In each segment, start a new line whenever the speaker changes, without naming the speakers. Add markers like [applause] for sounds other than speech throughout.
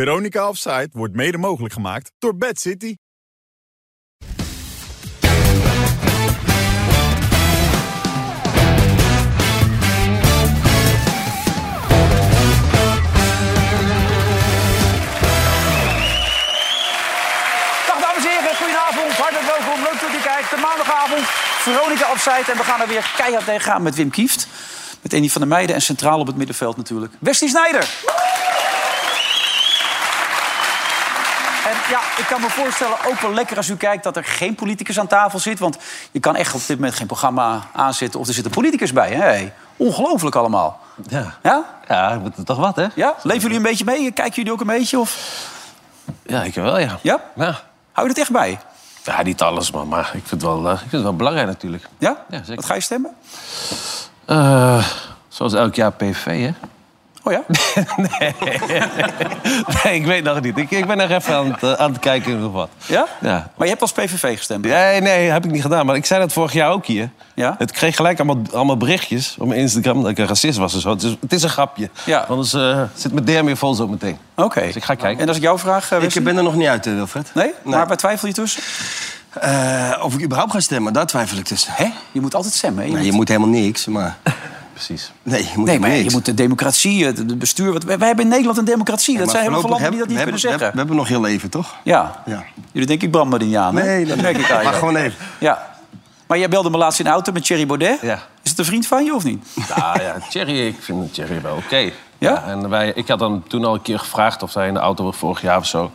Veronica Offside wordt mede mogelijk gemaakt door Bad City.
Dag dames en heren, goedenavond. Hartelijk welkom. Leuk dat u kijkt. De maandagavond, Veronica Opzijt. En we gaan er weer keihard tegenaan met Wim Kieft. Met Enie van der Meijden en centraal op het middenveld natuurlijk. Wesley Snijder. En ja, ik kan me voorstellen, ook wel lekker als u kijkt... dat er geen politicus aan tafel zit. Want je kan echt op dit moment geen programma aanzetten... of er zit een politicus bij. Hè? Hey, Ongelooflijk allemaal.
Ja.
Ja?
Ja, dat moet toch wat, hè?
Ja? Leven jullie een beetje mee? Kijken jullie ook een beetje? Of...
Ja, ik wel, ja.
Ja?
Ja.
Hou je het echt bij?
Ja, niet alles, maar, maar ik, vind het wel, eh, ik vind het wel belangrijk natuurlijk.
Ja?
Ja, zeker.
Wat ga je stemmen?
Eh, zoals elk jaar PV, hè? [laughs]
Oh ja?
Nee, ik weet nog niet. Ik, ik ben nog even aan het, eh, aan het kijken of wat.
Ja?
[laughs] Ja.
Maar je hebt als PVV gestemd.
Nee, nee, heb ik niet gedaan. Maar ik zei dat vorig jaar ook hier.
Ja?
Het kreeg gelijk allemaal, allemaal berichtjes op mijn Instagram dat ik een racist was en zo. Het is, het is een grapje.
Ja.
Anders eh, zit mijn derm weer vol zo meteen.
Oké.
Dus ik ga kijken.
En als ik jou vraag, eh, Wesley?
Ik ben er nog niet uit, eh, Wilfred.
Nee? Maar waar twijfel je tussen?
Eh, of ik überhaupt ga stemmen, daar twijfel ik tussen. Hè?
Je moet altijd stemmen. hè? Je
Nou,
moet-
je moet helemaal
[laughs]
niks, maar...
[laughs] Precies.
Nee, je moet
Nee, maar
niks.
je moet de democratie, het het bestuur... wat- wij wij hebben in Nederland een democratie. dat
Maar
zijn heel veel
voorlopig
landen die dat niet
hebben-
kunnen
we hebben-
zeggen.
We hebben nog heel even, toch?
ja.
Ja.
Jullie denken ik Bram Mariniaan, hè?
Nee, dat
denk ik
Maar
eigenlijk.
gewoon even.
Ja. Maar jij belde me laatst in de auto met Thierry Baudet.
Ja.
Is het een vriend van je of niet?
Nou ja, Thierry, ik vind Thierry wel oké.
Ja?
en wij, ik had hem toen al een keer gevraagd of hij in de auto was vorig jaar of zo.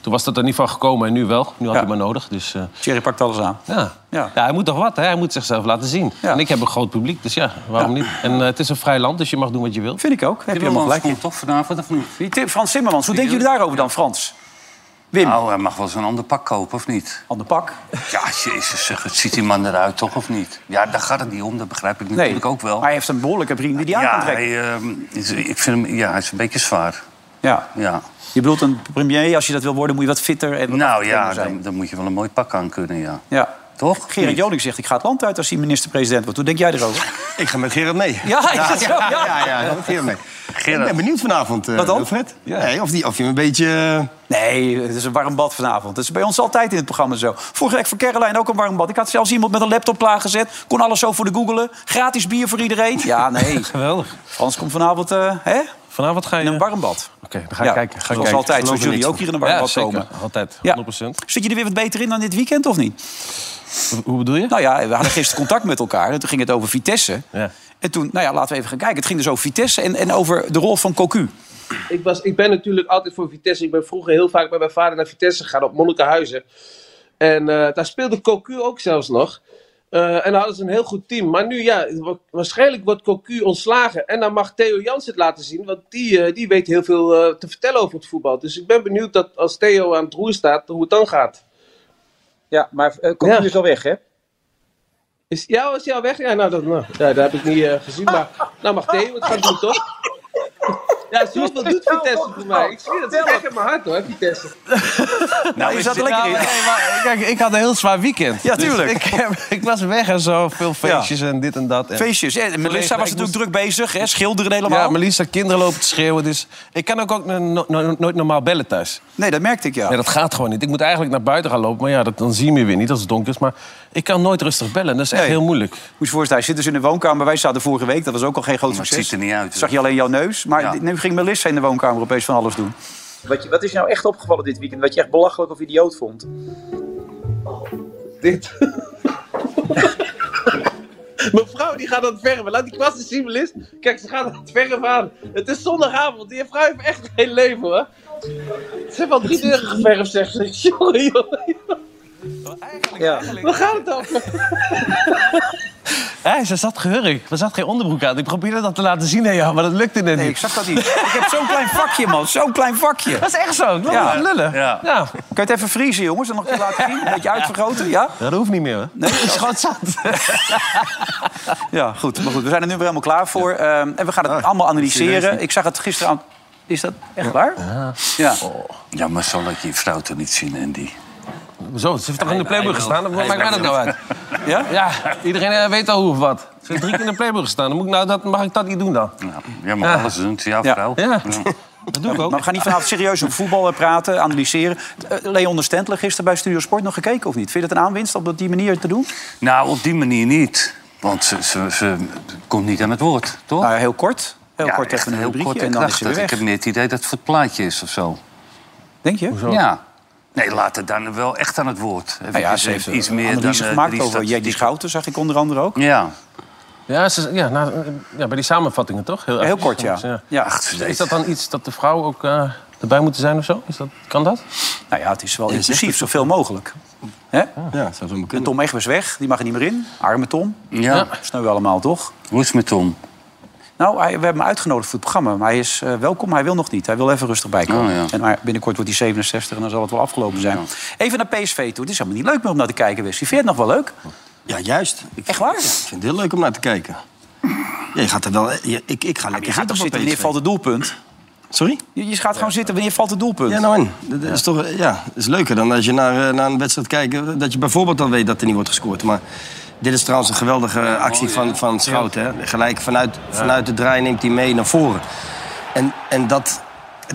Toen was dat er niet van gekomen en nu wel. Nu had
Ja.
hij maar nodig. Dus, eh,
Thierry pakt alles aan.
ja.
Ja.
Ja. hij moet toch wat, hè? hij moet zichzelf laten zien.
Ja.
En ik heb een groot publiek, dus ja, waarom niet? En eh, het is een vrij land, dus je mag doen wat je wilt.
Vind ik ook. Heb je helemaal
Timmermans
gelijk. in.
komt toch vanavond of niet?
Die Tim- Frans Timmermans, hoe denken jullie daarover dan, Frans? Wim,
Nou, hij mag wel eens een ander pak kopen, of niet?
ander pak.
Ja, jezus, zeg, het ziet die man eruit, toch, of niet? Ja, daar gaat het niet om, dat begrijp ik
Nee,
natuurlijk ook wel.
Maar hij heeft een behoorlijke vriend die die aan
ja,
kan trekken.
hij, ehm, is- ik vind hem, ja, hij is een beetje zwaar.
Ja.
Ja.
Je bedoelt een premier, als je dat wil worden, moet je wat fitter en wat
Nou
afgetrainder
ja,
zijn.
dan, dan moet je wel een mooi pak aan kunnen, ja.
Ja.
Toch?
Gerard
Niet?
Joling zegt, ik ga het land uit als hij minister-president wordt. Hoe denk jij erover?
Ik ga met Gerard mee.
Ja, is dat zo? Ja.
ja, ja, ja, ja, Gerard mee.
Gerard.
Ik ben benieuwd vanavond, eh,
Wat dan?
Wilfred. Nee, of, die, of je hem een beetje... eh,
Nee, het is een warm bad vanavond. Dat is bij ons altijd in het programma zo. Vorige week voor Caroline ook een warm bad. Ik had zelfs iemand met een laptop klaargezet. Kon alles zo voor de googelen. Gratis bier voor iedereen. Ja, nee.
Geweldig.
Frans komt vanavond eh, hè?
Vanavond ga je...
in een warm bad.
Oké, dan ga ik
Ja,
kijken. Ga ik
zoals
kijken.
altijd. Zoals
Geloof er
jullie
niks
ook hier in een
van.
warm
ja,
bad
zeker.
komen.
altijd. 100%.
Ja. Zit je er weer wat beter in dan dit weekend of niet?
Hoe bedoel je?
Nou ja, we hadden gisteren contact met elkaar. En toen ging het over Vitesse.
Ja.
En toen, nou ja, laten we even gaan kijken. Het ging dus over Vitesse en, en over de rol van
Nou,
Cocu.
ik, was, ik ben natuurlijk altijd voor Vitesse. Ik ben vroeger heel vaak met mijn vader naar Vitesse gegaan op Monnikenhuizen. En eh, daar speelde Cocu ook zelfs nog. Eh, en dan hadden ze een heel goed team. Maar nu ja, wa- waarschijnlijk wordt Cocu ontslagen. En dan mag Theo Jans het laten zien. Want die, eh, die weet heel veel eh, te vertellen over het voetbal. Dus ik ben benieuwd dat als Theo aan het roer staat, hoe het dan gaat.
Ja, maar eh Cocu
Ja.
is al weg, hè?
Is, ja, was jou weg? Ja, nou, dat, nou, ja, dat heb ik niet eh, gezien. Maar
[laughs]
nou mag Theo het gaan doen, toch? Ja, zoveel doet Vitesse voor mij. Ik zie dat het echt in mijn hart, hoor, Vitesse.
Nou, je zat er lekker
Ja,
in.
maar, nee, maar kijk, ik had een heel zwaar weekend.
Ja,
Dus
tuurlijk.
ik, heb- ik was weg en zo, veel feestjes en dit en dat. En,
Feestjes. En Melissa
Collega,
was
ik
natuurlijk druk bezig, hè? schilderen helemaal.
Ja, Melissa, kinderen lopen te schreeuwen. Dus ik kan ook, ook no- no- nooit normaal bellen thuis.
Nee, dat merkte ik ja.
Nee, dat gaat gewoon niet. Ik moet eigenlijk naar buiten gaan lopen. Maar ja, dat, dan zie je me weer niet als het donker is. Maar ik kan nooit rustig bellen. Dat is echt
Nee.
heel moeilijk.
Moest je voorstellen, hij zit dus in de woonkamer. Wij zaten vorige week, dat was ook al geen groot
Maar het
succes.
ziet er niet uit, hè?
Zag je alleen jouw neus. Maar
Ja.
dit- nu ging Melissa in de woonkamer opeens van alles doen.
Wat, je, wat is nou echt opgevallen dit weekend? Wat je echt belachelijk of idioot vond?
Dit. [laughs] Mijn vrouw die gaat aan het verven. Laat die kwast eens zien, Melis. Kijk, ze gaat aan het verven aan. Het is zondagavond. Die vrouw heeft echt geen leven, hoor. Ze heeft al drie deuren geverfd, zegt ze. [laughs] Jongen, jongen.
Ja.
Waar gaat het over?
Hé, ze zat gehurk. Er zat geen onderbroek aan. Ik probeerde dat te laten zien aan jou, maar dat lukte net
Nee, ik
niet.
zag dat niet. ik heb zo'n klein vakje, man. Zo'n klein vakje.
Dat is echt zo. Ik wil
Ja.
niet lullen.
Ja.
Ja.
Kun je het even vriezen, jongens? En nog een keer laten zien? Een beetje uitvergroten, ja?
Ja, dat hoeft niet meer, hè? Nee, dat is gewoon zat.
[laughs] Ja, goed. Maar goed, we zijn er nu weer helemaal klaar voor. Ehm, en we gaan het allemaal analyseren. Ik zag het gisteren aan... Is dat echt waar? Ja.
Ja, maar zo laat je je vrouw toch niet zien, Andy?
Zo, ze heeft toch in de Playboy gestaan? Dat maakt mij dat nou uit.
Ja?
Ja, iedereen eh, weet al hoe of wat. Ze heeft drie keer in de Playboy gestaan. Dan moet ik nou, dat, mag ik dat niet doen dan?
Ja, ja maar
Ja.
alles doen, het is jouw
Ah. Ja.
vrouw.
Ja.
Dat doe ik ook. Maar we gaan niet vanavond serieus over voetbal eh, praten, analyseren. Eh, Leon de Stentler gisteren bij Studio Sport nog gekeken of niet? Vind je dat een aanwinst om dat op die manier te doen?
Nou, op die manier niet. Want ze, ze, ze komt niet aan het woord, toch?
Nou, heel kort. Heel
Ja,
kort
echt
even een
heel
rubriekje
kort
en dan is ze weer
krachtig.
weg.
Ik heb meer het idee dat het voor het plaatje is of zo.
Denk je?
Ja. Oh. Nee, laat het dan wel echt aan het woord.
Nou ja,
Even
ze heeft
iets
eh,
meer dan
analyse
eh,
gemaakt
drie
over Jackie
statistieken.
Schouten, zag ik onder andere ook.
Ja.
Ja, ze- ja, na- ja, bij die samenvattingen toch?
Ja, Heel kort, ja.
ja.
ja.
Ach, ze-
Is dat dan iets dat de vrouw ook eh, erbij moet zijn of zo? Is dat, kan dat?
Nou ja, het is wel inclusief, zoveel mogelijk. Hè?
Ja, dat zou zo maar
En
kunnen.
Tom Egbers weg, die mag er niet meer in. Arme Tom,
ja.
Ja.
sneu allemaal toch?
Hoe is het met Tom?
Nou, hij- we hebben hem uitgenodigd voor het programma. Maar hij is eh, welkom, hij wil nog niet. Hij wil even rustig bijkomen.
Oh, ja.
en, maar binnenkort wordt hij 67 en dan zal het wel afgelopen zijn. Even naar PSV toe. Het is helemaal niet leuk meer om naar te kijken, Westie. Vind je het nog wel leuk?
Ja, juist. Ik
Echt waar?
ik vind het heel leuk om naar te
[clears throat]
kijken. Ja, je gaat er wel... je- ik, ik ga
Je
lekker
gaat toch
zitten voor
zitten, wanneer
PSV.
valt het doelpunt?
Sorry?
Je, je gaat gewoon zitten, wanneer valt het doelpunt?
Ja, nou in. Dat is toch, eh, ja, dat is leuker dan als je naar, eh, naar een wedstrijd kijkt. eh, Dat je bijvoorbeeld dan weet dat er niet wordt gescoord. Maar dit is trouwens een geweldige eh, actie van, van Schout. Hè? Gelijk vanuit, vanuit de draai neemt hij mee naar voren. En, en dat,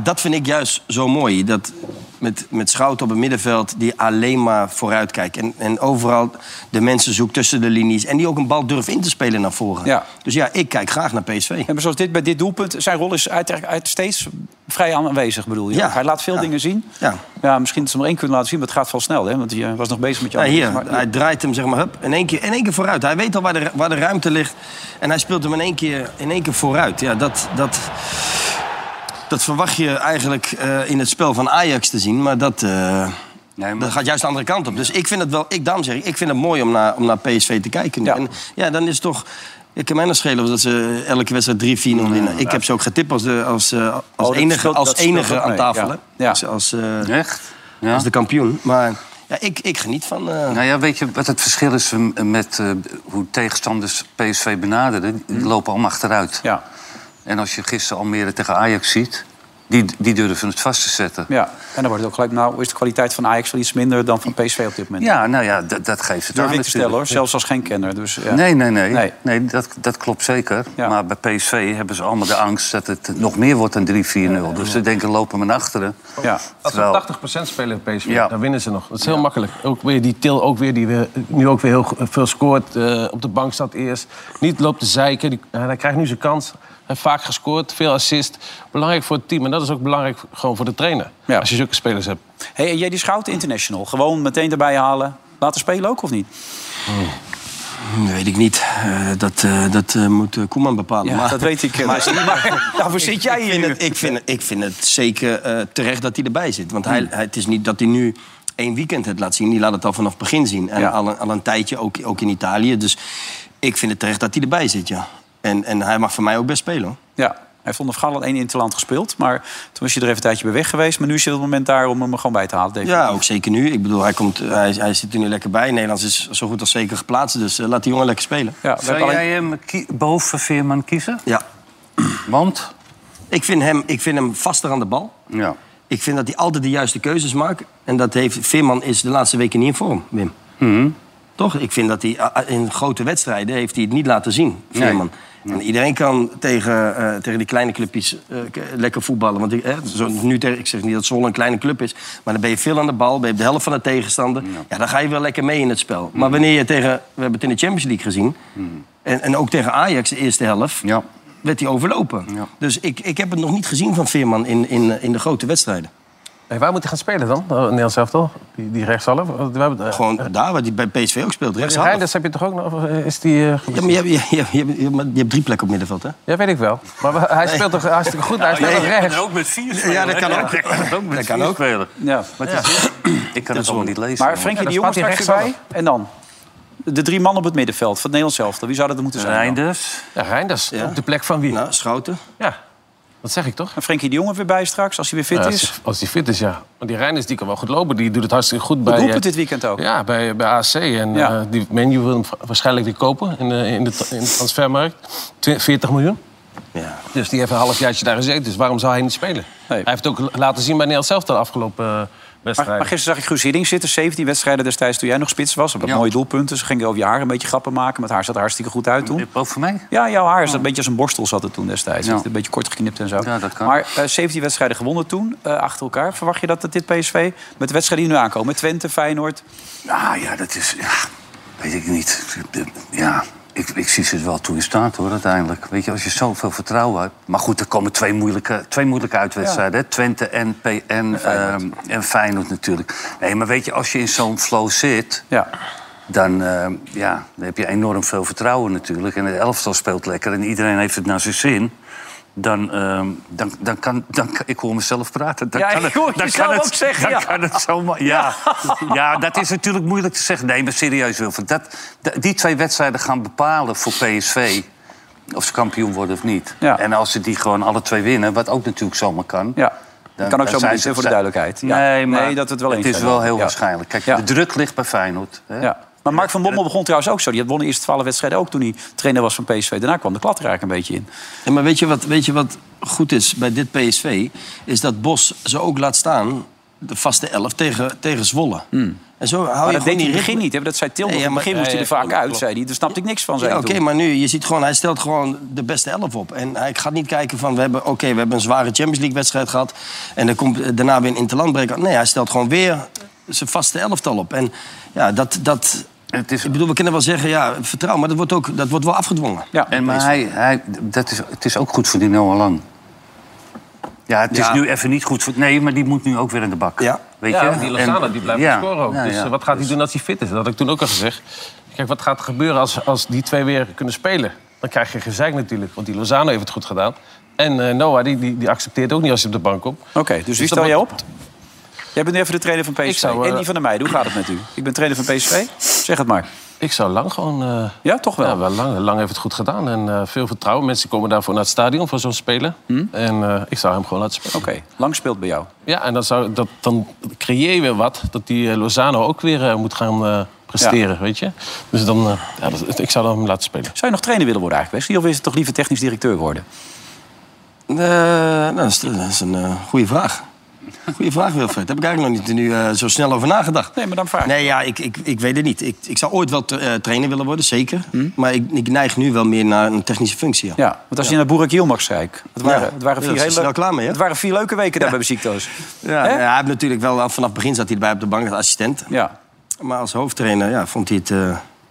dat vind ik juist zo mooi. Dat met, met Schout op het middenveld die alleen maar vooruit kijkt. En, en overal de mensen zoekt tussen de linies. En die ook een bal durft in te spelen naar voren.
Ja.
Dus ja, ik kijk graag naar PSV.
En maar zoals dit, bij dit doelpunt, zijn rol is uit, uit steeds vrij aanwezig, bedoel je?
Ja.
Hij laat veel
Ja.
dingen zien.
Ja.
Ja, misschien dat ze hem maar één kunnen laten zien, maar het gaat wel snel, hè? Want hij eh, was nog bezig met jou.
Ja, hier, hij draait hem zeg maar hup, in, één keer, in één keer vooruit. Hij weet al waar de, waar de ruimte ligt. En hij speelt hem in één keer, in één keer vooruit. Ja, dat, dat, dat verwacht je eigenlijk eh, in het spel van Ajax te zien. Maar dat, eh,
Nee, maar-
dat gaat juist de andere kant op. Dus ik vind het wel, ik daarom zeg ik, ik vind het mooi om naar, om naar PSV te kijken. nu.
Ja.
En ja, dan is het toch. Ik kan mij nog schelen of dat ze elke wedstrijd 3-4 winnen. Ik heb ze ook getipt als, de, als, eh, als
Oh, dat
enige,
speelt-
als
dat speelt
enige
ook
aan
mee,
tafel.
ja.
hè.
Ja.
Als, als, eh,
Echt? Ja.
als de kampioen. Maar ja, ik, ik geniet van. eh,
Nou ja, weet je wat het verschil is eh, met eh, hoe tegenstanders PSV benaderen? Die lopen allemaal achteruit.
Hm? Ja,
En als je gisteren Almere tegen Ajax ziet, die, die durven het vast te zetten.
ja. En dan wordt het ook gelijk, nou is de kwaliteit van Ajax wel iets minder dan van PSV op dit moment.
Ja, nou ja, dat- dat geeft het
Durf
aan
ik te stellen,
natuurlijk.
hoor. Zelfs als geen kenner. Dus, ja.
Nee, nee, nee.
Nee.
nee. dat, dat klopt zeker.
Ja.
Maar bij PSV hebben ze allemaal de angst dat het nog meer wordt dan 3-4-0. Dus ze denken, lopen we naar achteren.
Ja.
Als
Terwijl-
ze 80% spelen in PSV,
Ja.
dan winnen ze nog. Dat is heel makkelijk. Ook weer die Til, ook weer, die weer, nu ook weer heel go- veel scoort. eh, op de bank staat eerst. Niet loopt te zeiken. Die, hij krijgt nu zijn kans. Hij heeft vaak gescoord, veel assist. Belangrijk voor het team. En dat is ook belangrijk gewoon voor de trainer.
Ja.
Als je zulke spelers hebt.
Hey, en jij die Schouten international, gewoon meteen erbij halen. Laten spelen ook, of niet?
Dat weet ik niet. Eh, dat eh, dat eh, moet eh, Koeman bepalen.
Ja,
maar, Nou,
dat weet ik. Maar,
[laughs]
[laughs] maar daarvoor zit jij
eh,
hier
ik, vind
nu.
het, ik, vind, ik vind het zeker eh, terecht dat hij erbij zit. Want hij, hij- het is niet dat hij nu één weekend het laat zien. Die laat het al vanaf het begin zien. En
Ja.
al, een, al een tijdje, ook, ook in Italië. Dus ik vind het terecht dat hij erbij zit, ja. En, en hij mag voor mij ook best spelen, hoor.
Ja, hij heeft onder Vergaal al één interland gespeeld. Maar toen was je er even een tijdje bij weg geweest. Maar nu is het moment daar om hem er gewoon bij te halen. definitief.
Ja, ook zeker nu. Ik bedoel, hij, komt, hij, hij zit er nu lekker bij. Nederlands is zo goed als zeker geplaatst. Dus eh, laat die jongen lekker spelen.
ja we
Zou
hebben alleen-
jij hem kie- boven Veerman kiezen?
Ja.
Want?
Ik, vind hem, ik vind hem vaster aan de bal.
Ja.
Ik vind dat hij altijd de juiste keuzes maakt. En dat heeft... Veerman is de laatste weken niet in vorm, Wim. Toch? Ik vind dat hij ah, in grote wedstrijden heeft hij het niet laten zien, Veerman. En iedereen kan tegen, eh, tegen die kleine clubjes eh, k- lekker voetballen. Want ik, eh, zo, nu tegen- ik zeg niet dat Zwolle een kleine club is. Maar dan ben je veel aan de bal, ben je op de helft van de tegenstander. Ja. dan ga je wel lekker mee in het spel.
Mm.
Maar wanneer je tegen... We hebben het in de Champions League gezien. En, en ook tegen Ajax de eerste helft.
Ja.
Werd hij overlopen.
Ja.
Dus ik, ik heb het nog niet gezien van Veerman in, in, in de grote wedstrijden.
Hey, waar moet hij gaan spelen dan? Eh, Nederlands elftal? Die, die rechtshalf? Want We hebben, eh,
Gewoon daar, waar hij bij PSV ook speelt. Rechts ja,
Reinders heb je toch ook nog? Of eh, is die... eh, geblesseerd?
maar je, hebt- je, hebt- je, hebt- je, hebt- je hebt drie plekken op middenveld, hè?
Ja, weet ik wel. Maar we- hij speelt toch hartstikke goed? Hij speelt toch rechts?
ook met vier spelen.
Ja, dat kan ook.
Dat kan ook met
Dat kan
vier
ook.
spelen.
Ja.
Ik kan het allemaal niet lezen.
Maar Frenkie de
dan
Jong is
staat hij
straks erbij. En dan? De drie mannen op het middenveld van het Nederlands elftal. Wie zou dat dan moeten zijn? dan?
Reinders.
Ja, Reinders. Op de plek van wie?
Nou, Schouten.
Ja, dat zeg ik toch?
En Frenkie de Jong er weer bij straks, als hij weer fit
Ja,
is.
als- Als hij fit is, ja. Want die Reinders die kan wel goed lopen. Die doet het hartstikke goed bij...
Roepen
eh,
dit weekend ook.
Ja, bij, bij AC. En
Ja.
eh, die menu wil hem wa- waarschijnlijk weer kopen in de, in de, tra- in de transfermarkt. Twi- 40 miljoen.
Ja.
Dus die heeft een halfjaartje daar gezeten. Dus waarom zou hij niet spelen?
Nee.
Hij heeft ook l- laten zien bij Nederland zelf de afgelopen eh,
Maar, maar
wedstrijden.
gisteren zag ik Guus Hiddink zitten, 17 wedstrijden destijds toen jij nog spits was. Met
Ja.
mooie doelpunten. Ze gingen over je haar een beetje grappen maken. Met haar zat er hartstikke goed uit toen.
Ook voor mij?
Ja, jouw haar is een beetje als een borstel zat het toen destijds.
Ja.
Een beetje kort geknipt en zo.
Ja, dat kan.
Maar eh, 17 wedstrijden gewonnen toen, eh, achter elkaar. Verwacht je dat dat dit PSV met de wedstrijden die nu aankomen... met Twente, Feyenoord...
Nou ja, dat is... Ja, weet ik niet. Ja, ik, ik zie ze er wel toe in staat, hoor, uiteindelijk. Weet je, als je zoveel vertrouwen hebt... Maar goed, er komen twee moeilijke, twee moeilijke uitwedstrijden. hè. Twente en, PN, en, Feyenoord. en Feyenoord natuurlijk. Nee, maar weet je, als je in zo'n flow zit...
Ja,
Dan, eh, ja, dan heb je enorm veel vertrouwen natuurlijk. En het elftal speelt lekker en iedereen heeft het naar zijn zin. Dan, eh, dan, dan kan... Dan, kan- ik hoor mezelf praten. Dan
Ja,
kan
ik hoor
dan
jezelf
kan
ook zeggen,
Dan
ja.
kan het zomaar... Ja. Ja. dat is natuurlijk moeilijk te zeggen. Nee, maar serieus, Wilfred. Dat, dat- die twee wedstrijden gaan bepalen voor PSV... of ze kampioen worden of niet.
Ja.
En als ze die gewoon alle twee winnen, wat ook natuurlijk zomaar kan...
ja. dat kan ook zo
zijn
niet,
ze-
hè, voor de duidelijkheid. Ja.
Nee, maar
nee, dat het wel eens
is
zijn.
wel heel
Ja.
waarschijnlijk. Kijk,
Ja.
de druk ligt bij Feyenoord. Hè?
Ja. Maar Mark van Bommel begon trouwens ook zo. Die had won de eerste 12 wedstrijden ook toen hij trainer was van PSV. Daarna kwam de klat er eigenlijk een beetje in.
Ja, maar weet je, wat, weet je wat goed is bij dit PSV? Is dat Bos ze ook laat staan, de vaste elf, tegen, tegen Zwolle. En zo
Hmm.
hou
Maar
je
Oh, dat
gewoon
deed hij in
die
het begin
ritme-
niet. Hè? Dat zei Tilman.
Nee,
In
ja,
het
maar-
begin moest hij er
ja, ja,
vaak uit,
klopt.
zei hij. Daar snapte ik niks van, zei
Ja,
hij
oké,
toen.
maar nu, je ziet gewoon, hij stelt gewoon de beste elf op. En hij gaat niet kijken van, we hebben, oké, we hebben een zware Champions League-wedstrijd gehad... en dan komt eh, daarna weer een interlandbreak. Nee, hij stelt gewoon weer zijn vaste elftal op. En ja, dat... dat
Het is
ik bedoel, we kunnen wel zeggen, ja, vertrouw, maar dat wordt, ook, dat wordt wel afgedwongen.
Ja.
En maar hij, hij, dat is, het is ook goed voor die Noah Lang. Ja, het is
Ja.
nu even niet goed voor... Nee, maar die moet nu ook weer in de bak.
Ja.
Weet
ja,
je?
die Lozano
En-
die blijft
ja,
scoren ook.
ja,
dus
ja.
eh, wat gaat hij doen als hij fit is? Dat had ik toen ook al gezegd. Kijk, wat gaat er gebeuren als, als die twee weer kunnen spelen? Dan krijg je gezeik natuurlijk, want die Lozano heeft het goed gedaan. En eh, Noah, die, die, die accepteert ook niet als hij op de bank komt.
Oké, dus wie
dat
stel jij op?
wordt-
Jij bent nu even de trainer van PSV.
Ik zou, eh,
En die van de meiden, hoe gaat het met u? Ik ben trainer van PSV. Zeg het maar.
Ik zou lang gewoon... eh,
Ja, toch wel.
Ja, wel lang. Lang heeft het goed gedaan. En eh, veel vertrouwen. Mensen komen daarvoor naar het stadion voor zo'n speler. En eh, ik zou hem gewoon laten spelen.
Oké, lang speelt bij jou.
Ja, en dan, zou, dat, dan creëer je weer wat. Dat die eh, Lozano ook weer eh, moet gaan eh, presteren, weet je. Dus dan... eh, ja, dat- ik zou dan hem laten spelen.
Zou je nog trainer willen worden eigenlijk, Wesley? Of is het toch liever technisch directeur worden?
Eh, nou, dat is, dat is een eh, goede vraag. Goede vraag, Wilfred. Daar heb ik eigenlijk nog niet nu, eh, zo snel over nagedacht.
Nee, maar dan vraag ik.
Nee, ja, ik, ik, ik weet het niet. Ik, ik zou ooit wel tra- eh, trainer willen worden, zeker. Maar ik, ik neig nu wel meer naar een technische functie. Ja.
Hmm? Ja, want als je naar Boerak Yilmaz mag kijkt... Het waren,
Ja.
het waren
Ja,
vier
dat is
hele-
snel klaar mee, hè?
Het waren vier leuke weken daar bij Beziekto's.
Ja, nou ja, hij heeft natuurlijk wel vanaf het begin zat hij erbij op de bank als assistent.
Ja.
Maar als hoofdtrainer ja, vond hij het. eh,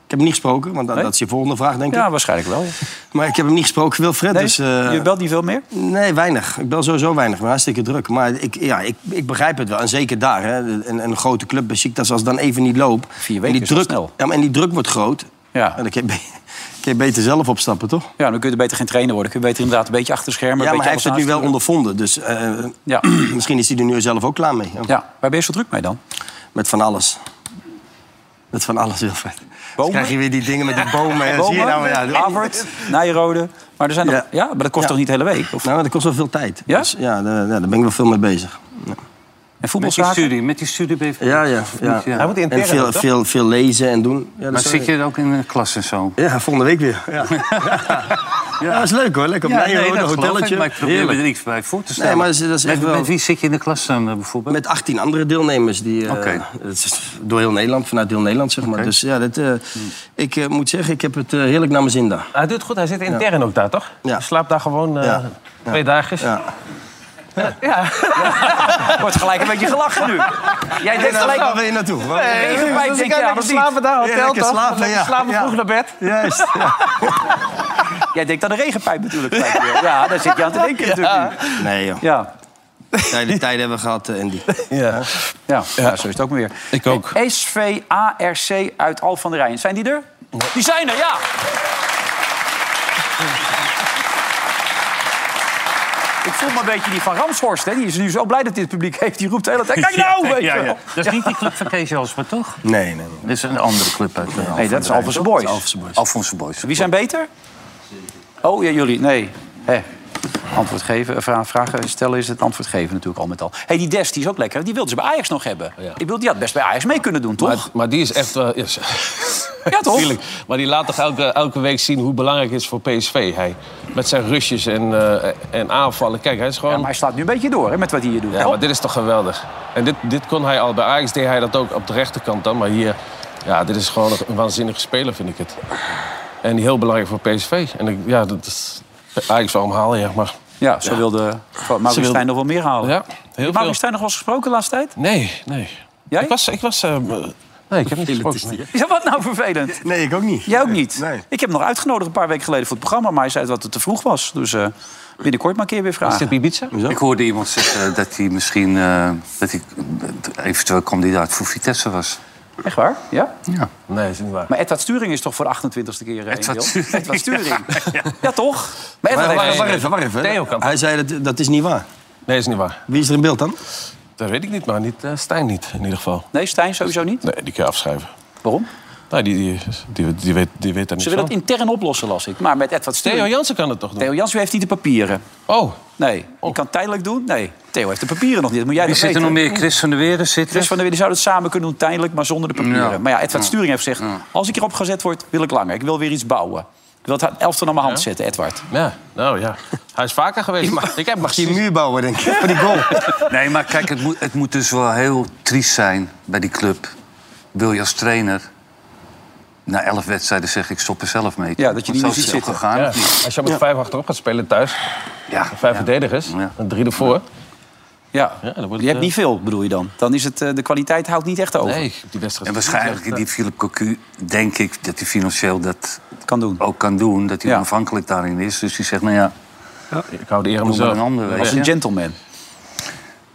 ik heb hem niet gesproken, want dat,
Nee?
dat is je volgende vraag, denk ik.
ja, waarschijnlijk wel. ja.
Maar ik heb hem niet gesproken, Wilfred.
Nee,
dus, eh,
Je belt niet veel meer?
Nee, weinig. Ik bel sowieso weinig. Maar hartstikke druk. Maar ik, ja, ik, ik begrijp het wel. En zeker daar. Hè. Een, een grote club bij Besiktas, als het dan even niet loopt...
Vier weken
en die
is
druk,
wel snel.
Ja, maar en die druk wordt groot.
Ja.
En dan kun je, be- [laughs] kun je beter zelf opstappen, toch?
Ja, dan kun je er beter geen trainer worden. Kun je beter inderdaad een beetje achter de schermen.
ja,
een
maar hij heeft
beetje
het nu wel
alles
ondervonden. Dus eh,
aansturen.
[clears throat] misschien is hij er nu zelf ook klaar mee.
Ja. ja, waar ben je zo druk mee dan?
Met van alles. Met van alles, Wilfred. Dan
Bomen?
krijg je weer die dingen met
[laughs]
die bomen. en Zie je nou, ja,
Havert, Nijrode. Maar er zijn nog...
Ja.
Ja, maar dat kost
Ja.
toch niet de hele week? Of...
Nou, maar dat kost wel veel tijd.
Ja?
Dus, ja, daar, ja, daar ben ik wel veel mee bezig.
En
Met die
voetbalzaken?
studie, met die studie ben je-
Ja, ja. ja.
Ja.
Hij moet intern
En veel,
toch?
veel, veel lezen en doen. Ja, dat
Maar
is-
zit je ook in een klas en zo?
Ja, volgende week weer.
[laughs]
Ja. Ja, dat is leuk hoor. Lekker op
Ja,
Nijrode,
dat
een
geloof
hotelletje.
ik, maar ik probeer me
Heerlijk.
er iets bij voor te stellen.
Nee, maar dat is- dat is
met,
echt wel-
met wie zit je in de klas dan eh, bijvoorbeeld?
Met 18 andere deelnemers. Die, eh,
Oké.
het is door heel Nederland, vanuit heel Nederland zeg maar. Dus ja, dat, eh, ik eh, moet zeggen, ik heb het eh, heerlijk naar mijn zin daar.
Hij doet het goed, hij zit intern ook daar, toch?
Ja.
Hij slaapt daar gewoon eh,
Ja.
twee dagjes.
Ja.
Wordt gelijk een beetje gelachen nu. [laughs] Jij denkt gelijk...
wil je naartoe?
Nee,
Dus
maar ik denk, ja,
we
dat niet.
slapen daar, hotel
lekker
toch?
slapen,
Lekker
ja.
slapen
Ja.
vroeg naar bed.
Juist.
Jij denkt aan de regenpijp natuurlijk. gelijk weer. [laughs] Ja, daar zit je aan te denken natuurlijk nu.
Nee joh,
Ja,
Ja, die tijden hebben we gehad eh, Andy.
Ja.
ja. ja, zo is het ook maar weer.
Ik ook.
SVARC uit Al van der Rijn. Zijn die er? Die zijn er, ja. Ik voel me een beetje die van Ramshorst. Hè. Die is nu zo blij dat dit publiek heeft. Die roept de hele tijd, kijk
[laughs]
nou! Weet je wel.
Dat is niet die club van Kees Jasper, toch?
Nee, nee, nee.
Dat is een andere club uit eh,
Nee, dat is Alphense Boys.
Alphense Boys.
Wie zijn beter? Oh, ja, jullie. Nee. Hè. Antwoord geven, eh, vra- vragen stellen is het antwoord geven natuurlijk al met al. hey, die Des, die is ook lekker. Die wilden ze bij Ajax nog hebben.
Ja.
Ik bedoel, die had best bij Ajax mee kunnen doen, toch?
Maar, maar die is echt wel... Ja, [laughs]
Ja, toch?
Tuurlijk. Maar die laat toch elke, elke week zien hoe belangrijk het is voor PSV. Hij, met zijn rushes en, eh, en aanvallen. Kijk, hij is gewoon...
Ja, maar hij slaat nu een beetje door hè, met wat hij hier doet. Oh,
Ja, maar dit is toch geweldig. En dit, dit kon hij al. Bij Ajax deed hij dat ook op de rechterkant dan. Maar hier, ja, dit is gewoon een waanzinnige speler, vind ik het. En heel belangrijk voor PSV. En ik, ja, dat is... Ajax wel omhalen, ja. Maar
Ja, zo wilde Maurice
wilde-
Stijn nog wel meer halen.
ja, heel veel.
Maurice Stijn nog wel eens gesproken de laatste tijd? [laughs]
Nee, nee.
Jij?
Ik was... Ik was eh, nee, ik heb niet gesproken. nee.
Ja, wat nou vervelend.
Nee, ik ook niet.
Jij ook niet?
Nee.
Ik heb hem nog uitgenodigd een paar weken geleden voor het programma... maar hij zei dat het te vroeg was. Dus eh, binnenkort maar een keer weer
Is dit
vragen.
Ibiza?
Ik hoorde iemand zeggen dat hij misschien... eh, dat hij eh, eventueel kandidaat voor Vitesse was.
Echt waar? Ja?
Ja.
Nee, is niet waar.
Maar Edward Sturing is toch voor de 28e keer eh,
Edward
in beeld?
Sturing.
Edward Sturing. Ja, toch? Maar
Wacht
Edward
wacht-
heeft-
wacht even, wacht even.
Theo kan-
Hij zei dat dat is niet waar.
Nee, is niet waar.
Wie is er in beeld dan?
Dat weet ik niet, maar niet, eh, Stijn niet in ieder geval.
Nee, Stijn sowieso niet.
Nee, die kun je afschrijven.
Waarom?
Nou, die, die, die, die weet, die weet daar niet
Ze willen
van.
dat intern oplossen, las ik. Maar met Edward
Theo
Sturing...
Jansen kan het toch doen?
Theo Jansen heeft niet de papieren.
Oh,
Nee. Die kan tijdelijk doen. Nee. Theo heeft de papieren nog niet. Dat Moet jij
Wie
dat
zit er
weten.
nog meer? Chris van der Weerden zit
Chris
er.
Dus van der Wielen zou dat samen kunnen doen, tijdelijk, maar zonder de papieren.
Ja.
Maar ja, Edward Sturing heeft gezegd... als ik erop gezet word, wil ik langer. Ik wil weer iets bouwen. Ik wil het elftal naar mijn hand zetten, Edward.
ja. Nou ja. Hij is vaker geweest. ik heb
Mag je een
precies-
muur bouwen, denk ik, voor die goal. [laughs]
Nee, maar kijk, het moet, het moet dus wel heel triest zijn bij die club. Wil je als trainer na elf wedstrijden zeggen ik stop er zelf mee?
Ja, dat je die
Want
nu
zo is
ziet
het ook
zitten.
Gegaan.
Ja.
of niet?
Als je met vijf achterop gaat spelen thuis,
Ja.
vijf
ja.
verdedigers
Ja.
en drie ervoor.
Ja,
Ja, dan wordt het,
je hebt
eh,
niet veel, bedoel je dan? Dan is het, eh, de kwaliteit houdt niet echt over.
Nee, die wedstrijd.
En waarschijnlijk in die Philip Cocu, denk ik, dat hij financieel dat
Kan doen.
ook kan doen. Dat hij
Ja.
onafhankelijk daarin is. Dus die zegt, nou ja,
Ik hou de eer aan
doe maar
mezelf.
een ander, weet
Als
je.
een gentleman.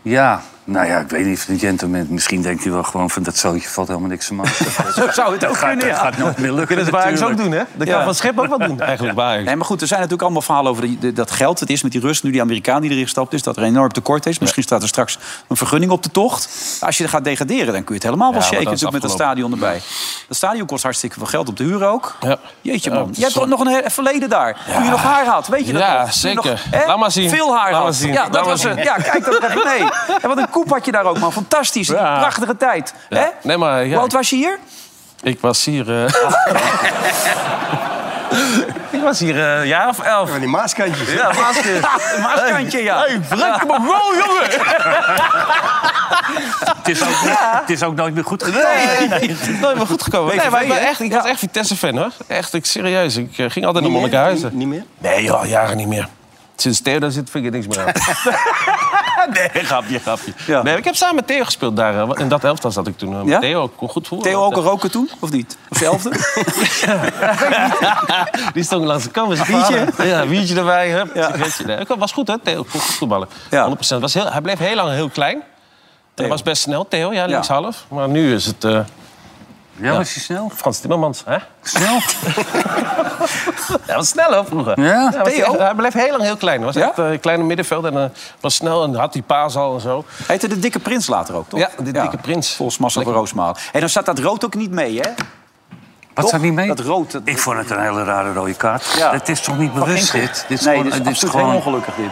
Ja, nou ja, ik weet niet of het een gentleman... Misschien denkt hij wel gewoon van dat zootje valt helemaal niks
[laughs]
te maken.
Zo zou het ook kunnen, ja.
gaat nooit meer lukken
Dat is waar ik ook doen, hè? Dat
Ja.
kan Van Schip ook wat doen. [laughs] Eigenlijk waar.
Nee, maar goed, er zijn natuurlijk allemaal verhalen over die- de- dat geld. Het is met die rust, nu die Amerikaan die erin gestapt is... dat er een enorm tekort is. Misschien staat er straks een vergunning op de tocht. Als je gaat degraderen, dan kun je het helemaal wel
Ja, want
shaken...
dan is
natuurlijk met dat stadion erbij. Dat stadion kost hartstikke veel geld op de huur ook.
Ja.
Jeetje,
Ja,
man.
het
Je hebt
is
toch nog een he- verleden daar. Toen je nog haar had, weet je dat
Ja,
nog? Toen je nog,
zeker.
hè,
Laat maar zien.
Veel haar
Laat
had.
maar zien.
Ja, dat
Laat maar
was
zien.
het. Ja, kijk, dat even
[laughs]
mee. En wat een koep had je daar ook, man. Fantastisch. Die
Ja.
Prachtige tijd.
Ja.
Hè?
Nee, maar ja,
Hoe oud was je hier?
ik was hier. [laughs] eh, ik was hier eh, een jaar of elf.
Van die maaskantjes.
Ja, Maaskantje. [laughs] Maaskantje, ja.
Druk me wel, jongen!
[laughs] Het is, ook, het is ook nooit meer goed gegaan.
Nee, maar goed gekomen. Nee, maar ik, ben echt, ik was echt Vitesse-fan, hoor. Echt, ik, serieus. Ik eh, ging altijd naar Monnikenhuizen.
Niet meer?
Nee, al jaren niet meer. Sinds Theo daar zit, vind ik er niks meer aan. [laughs] nee, grapje, grapje.
Ja.
Nee, ik heb samen met Theo gespeeld daar. eh, In dat elftal zat ik toen. eh, met
Ja?
Theo kon goed voelen.
Theo ook een roker toen, of niet? Of
[laughs]
zelfde?
[laughs] Die stond langs de kant met zijn vader. Ja, wiertje erbij. Hup,
Ja.
sigaretje. Nee, dat was goed, hè? Theo kon goed voetballen.
Ja.
100%. Was heel, hij bleef heel lang heel klein. En
Theo.
dat was best snel, Theo. Ja, linkshalf. Maar nu is het eh,
Ja, was hij snel?
Frans Timmermans, hè?
Snel?
Hij was snel, hoor, vroeger.
Ja?
Hij, was
Theo?
echt- hij bleef heel lang heel klein. Hij was
Ja?
echt eh, een kleine middenveld. En eh, was snel en had die paas al en zo.
Heette de Dikke Prins later ook, toch?
Ja, de Dikke Prins.
Volgens Marcel van Roosmaal. En dan staat dat rood ook niet mee, hè?
Wat
Toch?
staat niet mee?
Dat rood. dat-
Ik vond het een hele rare rode kaart.
Ja.
Het is toch niet
geen
bewust
goed.
dit? Dit is
nee,
gewoon,
dit is,
dit is
absoluut heel
gewoon,
ongemakkelijk,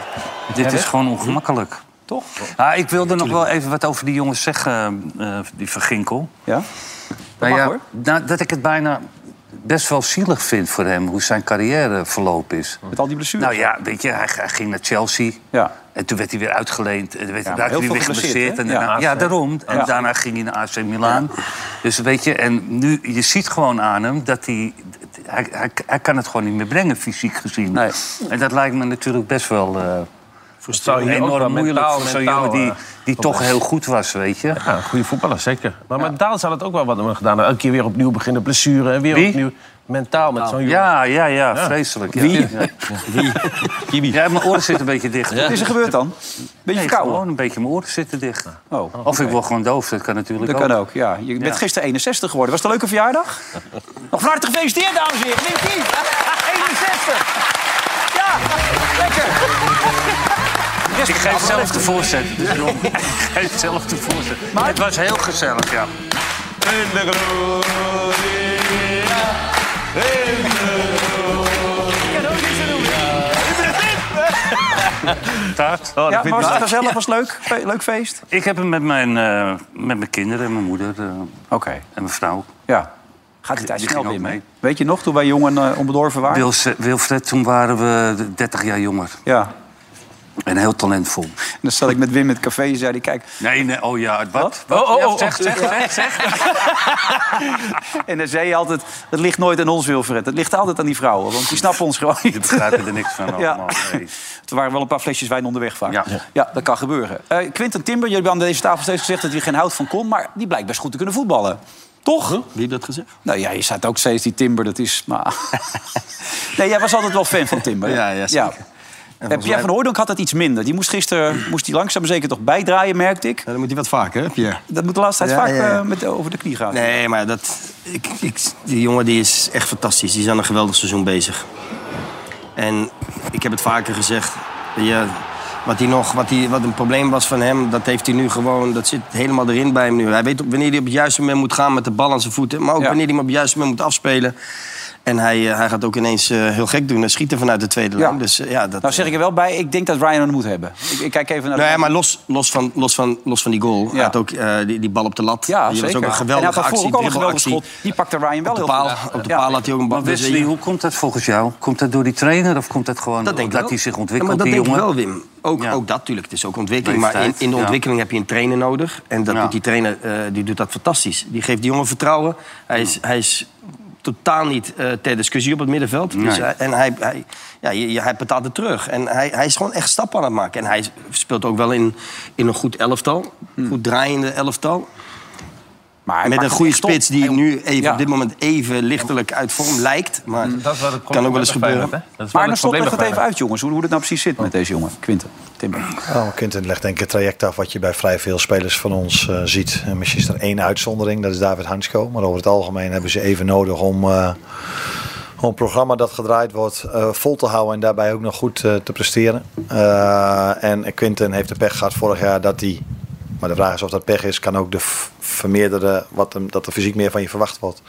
dit.
dit is gewoon ongemakkelijk.
Toch?
Ah, ik wilde nog wel even wat over die jongens zeggen, eh, die Van Ginkel.
Ja?
Nou
mag,
ja,
hoor.
nou, dat ik het bijna best wel zielig vind voor hem, hoe zijn carrière verlopen is.
Met al die blessures.
Nou ja, weet je, hij, hij ging naar Chelsea.
Ja.
En toen werd hij weer uitgeleend. En toen werd
Ja,
hij
maar
raakte
heel
hij weer
veel geblesseerd,
geblesseerd. En
hè?
daarna-
Ja.
ja, daarom. En
Ja.
daarna ging hij naar AC Milaan. Dus weet je, en nu, je ziet gewoon aan hem dat hij, hij, hij... hij kan het gewoon niet meer brengen, fysiek gezien.
Nee.
En dat lijkt me natuurlijk best wel eh,
Frustratie.
enorm moeilijk voor zo'n jongen die, die toch heel goed was, weet je.
Ja, een goede voetballer, zeker. Maar mentaal zou het ook wel wat hebben gedaan. Elke keer weer opnieuw beginnen, blessure en weer
Wie?
opnieuw. Mentaal met zo'n jongen.
Ja, ja, ja, vreselijk. Ja.
Wie?
Ja. Ja, mijn oren zitten een beetje dicht.
Wat is er gebeurd dan? Beetje
Nee,
verkouden?
gewoon een beetje mijn oren zitten dicht.
Oh,
Of ik word gewoon doof, dat kan natuurlijk
dat
ook.
kan ook, ja. Je bent
Ja.
gisteren 61 geworden. Was het een leuke [laughs] verjaardag? Nog van harte gefeliciteerd, dames en heren. Wim Kieft, 61. Ja, lekker.
Ik geef zelf de voorzet. [laughs] Ik geef zelf de voorzet.
Maar-
Het was heel gezellig, ja.
[laughs] Ja, Oh, dat is niet zo doen.
Taart.
Ja, maar was het gezellig? Was het leuk? Fe- Leuk feest?
Ik heb hem met mijn, eh, met mijn kinderen en mijn moeder eh,
Oké,
en mijn vrouw.
ja. Gaat die tijd
Die
snel
ging ook
weer mee.
mee.
Weet je nog, toen wij jong en eh, onbedorven waren?
Wils, eh, Wilfred, toen waren we 30 jaar jonger.
Ja.
En heel talentvol.
En dan zat ik met Wim in het café en zei hij, kijk...
Nee, nee, oh ja, wat?
Oh, oh, oh,
zeg, zeg, zeg, zeg.
En dan zei je altijd, het ligt nooit aan ons, Wilfred. Het ligt altijd aan die vrouwen, want die snappen ons gewoon
Die
niet.
begrijpen er niks
[laughs]
van allemaal. Nee.
Er waren wel een paar flesjes wijn onderweg vaak. Ja,
Ja.
dat kan gebeuren. Eh Quinten Timber, jullie hebben aan deze tafel steeds gezegd dat hij geen hout van kon... maar die blijkt best goed te kunnen voetballen. Toch?
Wie heeft dat gezegd?
Nou ja, je staat ook steeds die Timber, dat is...
[laughs]
Maar... nee, jij was altijd wel fan van Timber. hè?
Ja, ja, zeker.
Eh, Pierre van Hooydonk had dat iets minder. Die moest gisteren moest die langzaam maar zeker toch bijdraaien, merkte ik.
dan moet hij wat vaker, hè, Pierre?
Dat moet de laatste tijd
Ja,
vaak
ja, ja.
eh, met, over de knie gaan.
Nee, maar dat, ik, ik, die jongen die is echt fantastisch. Die is aan een geweldig seizoen bezig. En ik heb het vaker gezegd. Ja, wat, hij nog, wat, hij, wat een probleem was van hem, dat heeft hij nu gewoon... Dat zit helemaal erin bij hem nu. Hij weet op- wanneer hij op het juiste moment moet gaan met de bal aan zijn voeten. Maar ook
Ja.
wanneer hij hem op het juiste moment moet afspelen. En hij, eh, hij gaat ook ineens eh, heel gek doen. en schieten vanuit de tweede
Ja.
lijn. Dus, eh, ja, dat,
Nou zeg ik er wel bij, ik denk dat Ryan het moet hebben. Ik, ik kijk even naar de-
nou ja, maar los, los, van, los, van, los van die goal. Hij had ook eh, die, die bal op de lat.
Ja,
die
zeker.
was ook een
en hij
geweldige
had daarvoor
actie,
ook al een geweldige
dribbelactie.
schot. Die pakte Ryan wel
Op de
heel
paal,
goed.
op de
Ja.
paal had hij ook een bal.
Maar Wesley, hoe komt dat volgens jou? Komt dat door die trainer of komt dat gewoon
Dat denk ik
omdat
wel.
hij zich
Ja,
ontwikkelt,
maar dat
die
denk
jongen?
ik wel, Wim. Ook,
Ja.
ook dat natuurlijk. Het is ook ontwikkeling. Maar in,
Leeftijd,
in de
ja.
ontwikkeling heb je een trainer nodig. En dat
Ja.
doet die trainer eh, die doet dat fantastisch. Die geeft die jongen vertrouwen. Hij is, hij is totaal niet eh, ter discussie op het middenveld. Dus
Nee.
hij- en hij, hij, ja, je- je- hij betaalt het terug. En hij, hij is gewoon echt stappen aan het maken. En hij speelt ook wel in, in een goed elftal.
Hm.
Goed draaiende elftal.
Maar hij
Met
pakt
een
het
goede
echt op.
spits die
Hij-
nu even,
Ja.
op dit moment even lichtelijk uit vorm lijkt. Maar
Dat is wel het
kan ook wel eens gebeuren.
Maar dan stop het even uit, jongens. Hoe, hoe het nou precies zit met deze jongen, Quinten. Timber.
Nou, Quinten legt denk ik het traject af wat je bij vrij veel spelers van ons eh, ziet. En misschien is er één uitzondering, dat is David Hansko. Maar over het algemeen hebben ze even nodig om, eh, om een programma dat gedraaid wordt eh, vol te houden en daarbij ook nog goed eh, te presteren. Eh, en Quinten heeft de pech gehad vorig jaar dat hij. Maar de vraag is of dat pech is, kan ook de v- vermeerderde, wat hem, dat er fysiek meer van je verwacht wordt.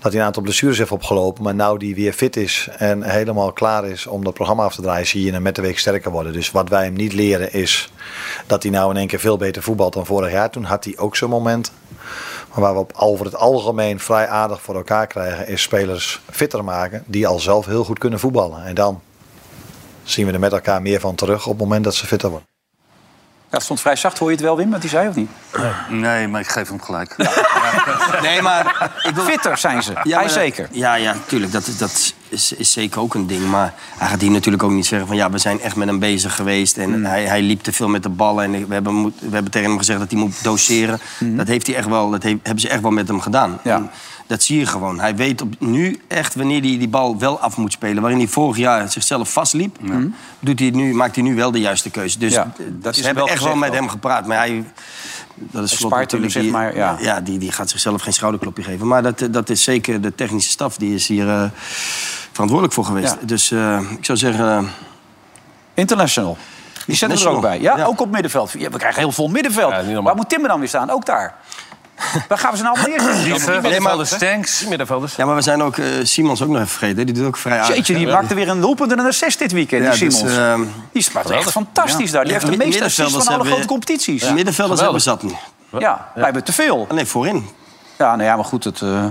Dat hij een aantal blessures heeft opgelopen, maar nou die weer fit is en helemaal klaar is om dat programma af te draaien, zie je hem met de week sterker worden. Dus wat wij hem niet leren is dat hij nou in één keer veel beter voetbalt dan vorig jaar. Toen had hij ook zo'n moment. Maar waar we op over het algemeen vrij aardig voor elkaar krijgen, is spelers fitter maken die al zelf heel goed kunnen voetballen. En dan zien we er met elkaar meer van terug op het moment dat ze fitter worden.
Ja, het stond vrij zacht, hoor je het wel, Wim? Wat hij zei of niet?
Nee, maar ik geef hem gelijk.
Nee, maar ik wil,
Fitter zijn ze.
Ja,
hij
maar dat-
zeker.
Ja, ja, tuurlijk. Dat, is- dat is, is zeker ook een ding. Maar hij gaat hier natuurlijk ook niet zeggen van... ja, we zijn echt met hem bezig geweest. En
Mm.
hij, hij liep te veel met de ballen. En we hebben, moet- we hebben tegen hem gezegd dat hij moet doseren. Dat, heeft hij echt wel, dat he- hebben ze echt wel met hem gedaan.
Mm. Ja.
En Dat zie je gewoon. Hij weet op, nu echt wanneer hij die bal wel af moet spelen. Waarin hij vorig jaar zichzelf vastliep... Doet hij het nu, maakt hij nu wel de juiste keuze. Dus
Ja,
eh,
dat is
ze
hem
hebben
wel
echt wel
gezegd
met
ook.
hem gepraat. Maar hij... Dat is Slot
spaart hem,
natuurlijk
zeg
die-
maar, ja.
ja, die, die gaat zichzelf geen schouderklopje geven. Maar dat, eh, dat is zeker de technische staf. Die is hier eh, verantwoordelijk voor geweest.
Ja.
Dus eh, ik zou zeggen... eh,
International. Die zetten we er ook bij. Ja, ook op middenveld. Ja, we krijgen heel vol middenveld.
Ja, niet normaal.
Waar moet Timber dan weer staan? Ook daar. Waar gaan we ze nou
[laughs]
allemaal
eh,
neerzetten?
Nee, maar,
Stanks.
Middenvelders.
ja, maar we zijn ook eh, Simons ook nog even vergeten. Die doet ook vrij aardig.
Jeetje, die
hè?
maakte weer een doelpunt en een assist dit weekend,
Ja,
die
dus,
Simons.
eh,
die speelt echt fantastisch daar. Die
Ja,
heeft de
mi-
meeste assists
middenvelders
van alle
hebben-
grote competities.
de
Ja,
middenvelders hebben zat nu.
wij hebben te veel.
Ah, Nee, voorin.
Ja, nou ja, maar goed, het, eh,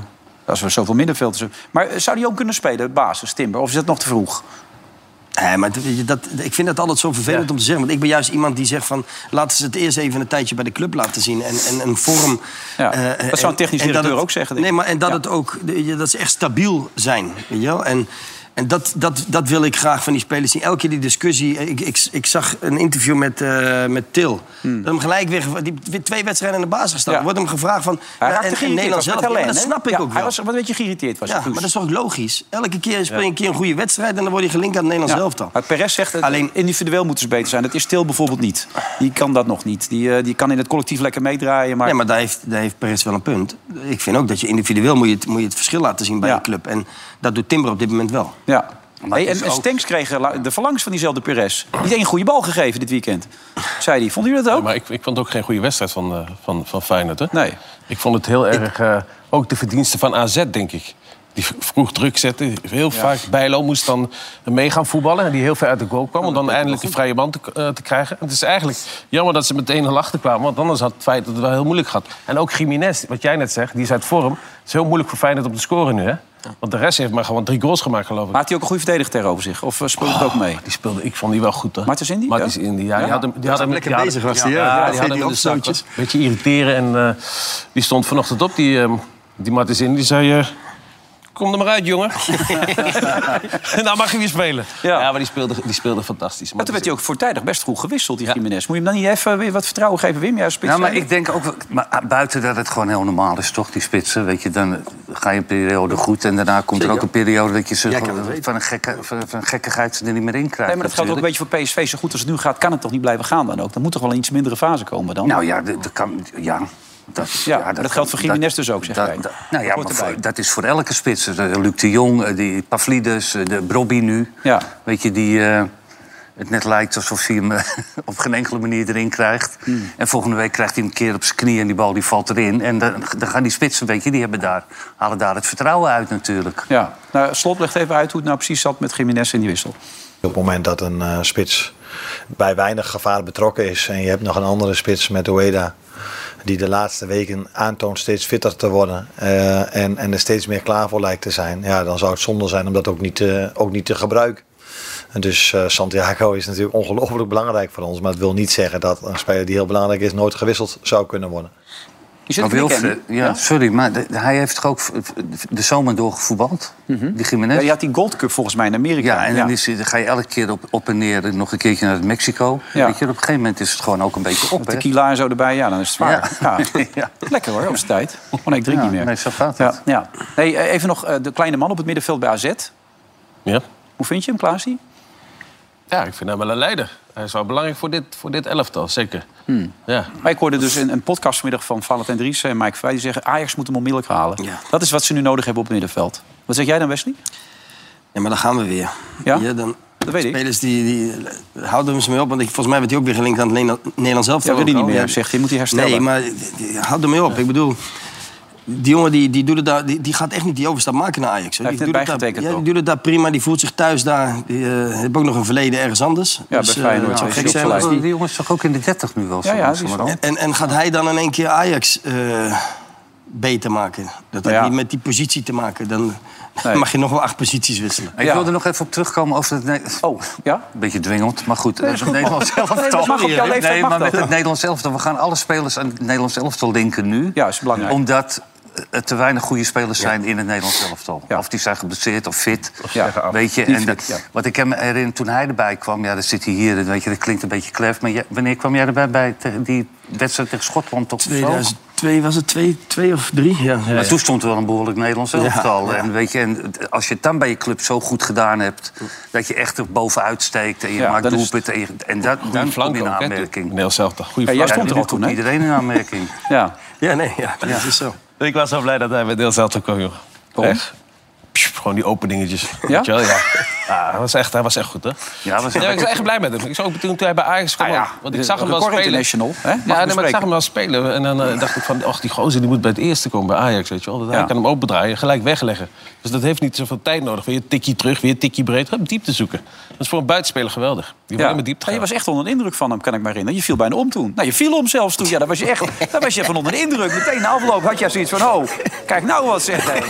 als we zoveel middenvelders hebben. Maar eh, zou die ook kunnen spelen, basis, Timber? Of is dat nog te vroeg?
Nee, maar dat- weet je, dat, ik vind dat altijd zo vervelend om te zeggen. Want ik ben juist iemand die zegt van... laten ze het eerst even een tijdje bij de club laten zien. En, en een vorm...
Ja,
eh,
dat zou
en-
een technisch
en dat
directeur
het-
ook zeggen, denk
Nee,
ik.
maar en dat
Ja.
het ook... weet je, dat ze echt stabiel zijn, weet je wel? En, en dat, dat, dat wil ik graag van die spelers zien. Elke keer die discussie... Ik, ik, ik zag een interview met, eh, met Til. Dat hem gelijk weer, geva- die, weer twee wedstrijden in de basis gestaan.
Hmm. Ja.
Wordt hem gevraagd van...
Hij
ja,
raakte
en, en
geïrriteerd.
Nederland
was met
zelf. Ja, maar
Helene,
dat
hè?
snap ik
Ja,
ook wel.
Hij was wat een beetje geïrriteerd. Was
Ja,
Guus.
maar dat is toch logisch? Elke keer speel je een keer een goede wedstrijd... en dan word je gelinkt aan het Nederlands
Ja.
zelf dan.
Maar Perez zegt, Alleen...
Alleen-
individueel moeten ze beter zijn. Dat is Til bijvoorbeeld niet. Die kan dat nog niet. Die, eh, die kan in het collectief lekker meedraaien. Maar...
Nee, maar daar heeft, daar heeft Perez wel een punt. Ik vind ook dat je individueel moet je het, moet je het verschil laten zien bij
Ja.
je club. En dat doet Timber op dit moment wel.
Ja.
Maar
Hey,
het
en
is
en
ook-
Stenks kreeg eh, la- de verlangs van diezelfde Perez. Niet één goede bal gegeven dit weekend, zei hij. Vonden jullie dat ook?
Maar ik, ik vond ook geen goede wedstrijd van, eh, van, van Feyenoord. Hè?
Nee.
Ik vond het heel erg... eh, ook de verdiensten van AZ, denk ik. Die v- vroeg druk zette. Heel vaak Bijlo moest dan mee gaan voetballen. En die heel ver uit de goal kwam. om dan eindelijk die vrije band te, k- eh, te krijgen. Het is eigenlijk jammer dat ze meteen al achter kwamen. Want anders had het feit dat het wel heel moeilijk gehad. En ook Jiménez, wat jij net zegt, die is uit vorm. Het is heel moeilijk voor Feyenoord om te scoren nu, hè? Want de rest heeft maar gewoon drie goals gemaakt, geloof ik.
Maakt hij ook een goede verdediger tegenover zich? Of eh, speelt het ook mee?
Die speelde, ik vond die wel goed, hè?
Martens Indy,
Martens
ja?
Indy, ja.
Ja.
Die had hem, die had hem,
lekker
die had-
bezig was die, ja. Ja,
die
dat
had
deed
hem
hij
in de
ook
zak.
zootjes.
Een beetje irriteren. En eh, die stond vanochtend op, die, ehm die Martens Indy. Die zei... eh, Kom er maar uit, jongen. nou mag je weer spelen.
Ja.
Ja, maar die speelde, die speelde fantastisch.
Maar toen werd hij ook voortijdig best goed gewisseld, die Jiménez. Moet je hem dan niet even weer wat vertrouwen geven, Wim? Ja, eh, spits
Nou, maar
zijn.
ik denk ook, wel- maar ah, buiten dat het gewoon heel normaal is, toch, die spitsen. Weet je, dan ga je een periode goed en daarna komt er ook een periode dat je ze
kan het
gewoon van, een gekke, van, van een gekkigheid ze er niet meer in krijgt.
Nee, maar dat geldt ook een
natuurlijk.
beetje voor PSV. Zo goed als het nu gaat, kan het toch niet blijven gaan dan ook? Dan moet toch wel een iets mindere fase komen dan?
Nou ja, dat dat kan. Ja. Dat,
Ja, dat
kan-
geldt voor Gimenez dus ook, zeg jij.
nou ja,
hoort
maar
erbij.
voor- dat is voor elke spits. Eh, Luc de Jong, eh, die Pavlidis, eh, de Brobby nu.
Ja.
Weet je, die eh, het net lijkt alsof hij hem eh, [laughs] op geen enkele manier erin krijgt.
Hmm.
En volgende week krijgt hij hem een keer op zijn knie en die bal die valt erin. En dan, dan gaan die spitsen, weet je, die hebben daar, halen daar het vertrouwen uit natuurlijk.
Ja, nou, Slot legt even uit hoe het nou precies zat met Jiménez in die wissel.
Op het moment dat een eh, spits bij weinig gevaar betrokken is en je hebt nog een andere spits met Ueda die de laatste weken aantoont steeds fitter te worden eh, en, en er steeds meer klaar voor lijkt te zijn, ja, dan zou het zonde zijn om dat ook niet te, ook niet te gebruiken. En Dus eh, Santiago is natuurlijk ongelooflijk belangrijk voor ons, maar het wil niet zeggen dat een speler die heel belangrijk is nooit gewisseld zou kunnen worden.
Je zit
Maar
in de
Wilfred- ja, sorry, maar de- hij heeft toch ook v- de zomer door gevoetbald, die Gimenez?
Mhm. ja, je had die Gold Cup volgens mij in Amerika.
Ja, en dan, is, dan ga je elke keer op, op en neer, nog een keertje naar Mexico.
Ja.
Weet je, op een gegeven moment is het gewoon ook een beetje op.
Met
hè?
tequila en zo erbij, ja, dan is het zwaar. Ja.
Ja. [laughs] Ja.
Lekker hoor, op zijn tijd. Oh nee, ik drink
Ja,
niet meer.
nee, zo gaat
ja,
het.
ja. Nee, eh, even nog eh, de kleine man op het middenveld bij AZ.
Ja.
Hoe vind je hem, Klaasie?
ja, ik vind hem wel een leider. Hij is wel belangrijk voor dit, voor dit elftal, zeker. Ja.
Maar ik hoorde dus een, een podcast vanmiddag van Valentijn Dries en Mike Vrij. Die zeggen, Ajax moet hem onmiddellijk halen.
Ja.
Dat is wat ze nu nodig hebben op het middenveld. Wat zeg jij dan, Wesley?
Ja, maar dan gaan we weer.
Ja?
dan,
Dat weet ik.
spelers die, die houden hem ze mee op. Want ik, volgens mij werd hij ook weer gelinkt aan het Nederland- Nederlands zelf.
Ja, wil hij niet meer, zegt hij. Moet hij herstellen.
Nee, maar eh, houd hem mee op. Ik bedoel, die jongen die, die, doet het daar, die, die gaat echt niet die overstap maken naar Ajax. hoor.
Hij
die
heeft net
doet het daar-
bijgetekend
Ja,
ook.
die doet het daar prima. Die voelt zich thuis daar. Die eh heeft ook nog een verleden ergens anders.
bij
eh,
Feyenoord
het zou
is
gek
hij
zijn
opgeleid.
als
Die,
die...
die jongen is toch ook in de 30 nu wel? zo
Ja, ja, die is
langzamerhand?
wel-
En, en gaat hij dan in één keer Ajax eh, beter maken? Dat heeft
Ja.
niet met die positie te maken. Dan
Nee.
mag je nog wel acht posities wisselen.
Ik
Ja.
wil er nog even op terugkomen over het... Ne-
Oh, ja?
Een beetje dwingend, maar goed. dat is het
goed.
Nederlands elftal.
[laughs] Nee, dat mag op jouw leeftijd,
Nee,
mag
maar
dat.
met het Nederlands elftal. We gaan alle spelers aan het Nederlands elftal linken nu.
Ja, is belangrijk.
Omdat er te weinig goede spelers zijn in het Nederlands elftal.
Ja.
Of die zijn geblesseerd of fit.
Ja. zeggen af.
Weet je,
Niet
en
fit,
dat-
ja.
wat ik hem herinner toen hij erbij kwam. Ja, dan zit hij hier. en Weet je, dat klinkt een beetje klef. Maar jij- wanneer kwam jij erbij bij te- die wedstrijd tegen Schotland? Toch of zo?
2002 was het, twee, twee of drie? Ja, ja,
Maar toen stond er wel een behoorlijk Nederlands elftal.
ja.
En, weet je, en als je het dan bij je club zo goed gedaan hebt... dat je echt er bovenuit steekt en je
Ja,
maakt
dan is het-
doelpunten... en, je- en dat,
Goede
dan kom
flank
je in
ook, hè?
aanmerking.
Nederlands elftal. Goede
Ja, jij
Ja,
stond er
nu
al toen,
komt
hè?
iedereen in
[laughs]
aanmerking.
Ja.
ja nee, ja, dat is zo.
Ik was zo blij dat hij bij Deel Zelter kwam, joh.
Waarom?
Echt. Pssch, gewoon die openingetjes. Weet je wel, ja. Ah, hij, was echt, hij was echt goed, hè?
Ja, was
ik was echt blij met hem. Ik zag ook toen hij bij Ajax kwam.
Ah, ja.
ook, Want ik zag hem wel
Record
spelen.
International, hè? Mag ik
Ja, nee, maar ik
bespreken.
zag hem wel spelen. En dan eh, dacht ik van, ach, die gozer die moet bij het eerste komen bij Ajax, weet je wel. Dat
Ja.
Hij kan hem opendraaien, gelijk wegleggen. Dus dat heeft niet zoveel tijd nodig. Weer een tikje terug, weer een tikje breed. Hup, diepte zoeken. Dat is voor een buitenspeler geweldig. Die wil
Ja.
helemaal diepte
Maar je
gaan.
was echt onder de indruk van hem, kan ik me herinneren. Je viel bijna om toen. Nou, je viel om zelfs toen. Ja, daar was je echt daar was je van onder de indruk. Meteen na afloop had jij zoiets van, oh, kijk nou wat zegt hij.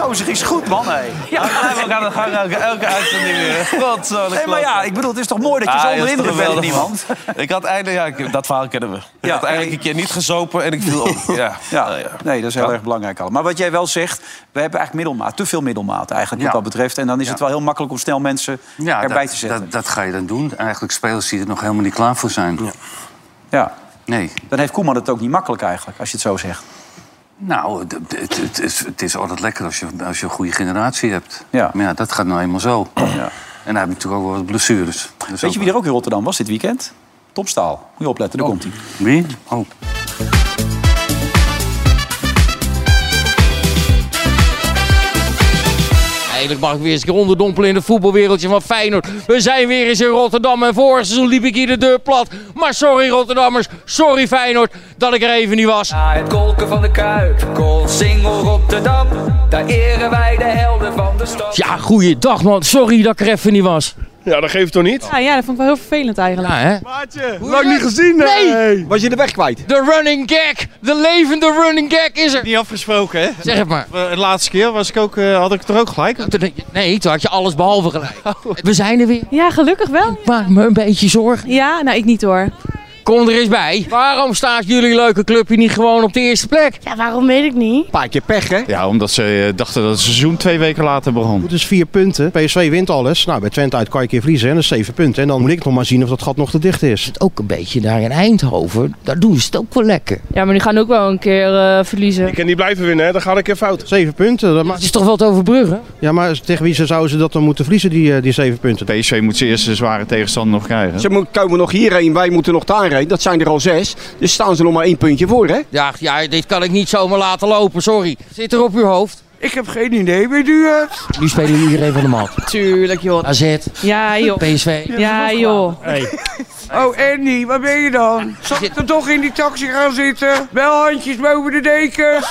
Gozer is goed, man, hé.
Ja, we gaan het gang elke, elke uitzending [laughs] weer. Godzolle
Nee, maar
klote.
ja, ik bedoel, het is toch mooi dat je
Ah,
zo
joh,
onder de
dat is
indruk bent van
geweldig,
iemand.
man. [laughs] Ik had eindelijk, ja, ik- dat verhaal kennen we. Ik
Ja.
had eigenlijk een keer niet gezopen en ik viel op. Ja.
Ja,
Nou ja.
nee, dat is heel erg belangrijk allemaal. Maar wat jij wel zegt, we hebben eigenlijk middelmaat. Te veel middelmaat eigenlijk, wat
Ja.
dat betreft. En dan is het wel heel makkelijk om snel mensen
Ja,
erbij
dat,
te zetten.
dat, dat ga je dan doen. Eigenlijk spelers die er nog helemaal niet klaar voor zijn.
Ja.
Nee.
Dan heeft Koeman het ook niet makkelijk eigenlijk, als je het zo zegt.
Nou, d- d- het, het, is- het is altijd lekker als je, als je een goede generatie hebt.
Ja.
Maar ja, dat gaat nou eenmaal zo.
Ja.
En hij heeft natuurlijk ook wel wat blessures. Dat is
Weet je
ook
wie er ook in Rotterdam was dit weekend? Topstaal. Moet je opletten, daar komt hij.
wel- Wie? Oh.
Hij eindelijk mag ik weer eens een keer onderdompelen in het voetbalwereldje van Feyenoord. We zijn weer eens in Rotterdam en vorig seizoen liep ik hier de deur plat. Maar sorry Rotterdammers, sorry Feyenoord, dat ik er even niet was.
Na het kolken van de Kuip, Koolsingel Rotterdam. Daar eren wij de helden van de stad.
Ja, Ah, goeiedag man, sorry dat ik er even niet was.
Ja, dat geeft toch niet?
Ja, ja, dat vond ik wel heel vervelend eigenlijk.
Ja, hè?
Maatje, lang niet gezien, nee.
Was je de weg kwijt?
De running gag, de levende running gag is er.
Niet afgesproken, hè? Eh,
Zeg het maar.
De laatste keer was ik ook, eh, had ik het er ook gelijk. Oh.
Nee, toen had je alles behalve gelijk. We zijn er weer.
Ja, gelukkig wel.
Maak me een beetje zorgen.
Ja, nou ik niet hoor.
Kom er eens bij. Waarom staat jullie leuke clubje niet gewoon op de eerste plek?
Ja, waarom weet ik niet?
Een paar keer pech, hè?
Ja, omdat ze eh, dachten dat het seizoen twee weken later begon.
Het is dus vier punten. PSV wint alles. Nou, bij Twente uit kan je een keer vriezen. En dat is zeven punten. En dan moet ik nog maar zien of dat gat nog te dicht is.
Ook een beetje daar in Eindhoven, daar doen ze het ook wel lekker.
Ja, maar die gaan ook wel een keer eh, verliezen.
Ik kan niet blijven winnen, hè? Dan gaat ik keer fout.
Zeven punten. Dat ma-
Het is toch wel te overbruggen?
ja, maar tegen wie ze- zouden ze dat dan moeten vriezen, die, eh, die zeven punten?
PSV moet zijn eerste zware tegenstander nog krijgen.
Ze moet- komen nog hierheen, wij moeten nog daarheen. Dat zijn er al zes. Dus staan ze nog maar één puntje voor, hè?
Ja, ja, dit kan ik niet zomaar laten lopen, sorry. Zit er op uw hoofd?
Ik heb geen idee, weet u het?
Nu spelen iedereen van de mat.
Tuurlijk, joh.
AZ,
Ja joh.
PSV.
Ja joh.
Oh, Andy, waar ben je dan? Zal ik er toch in die taxi gaan zitten? Wel handjes boven de dekens.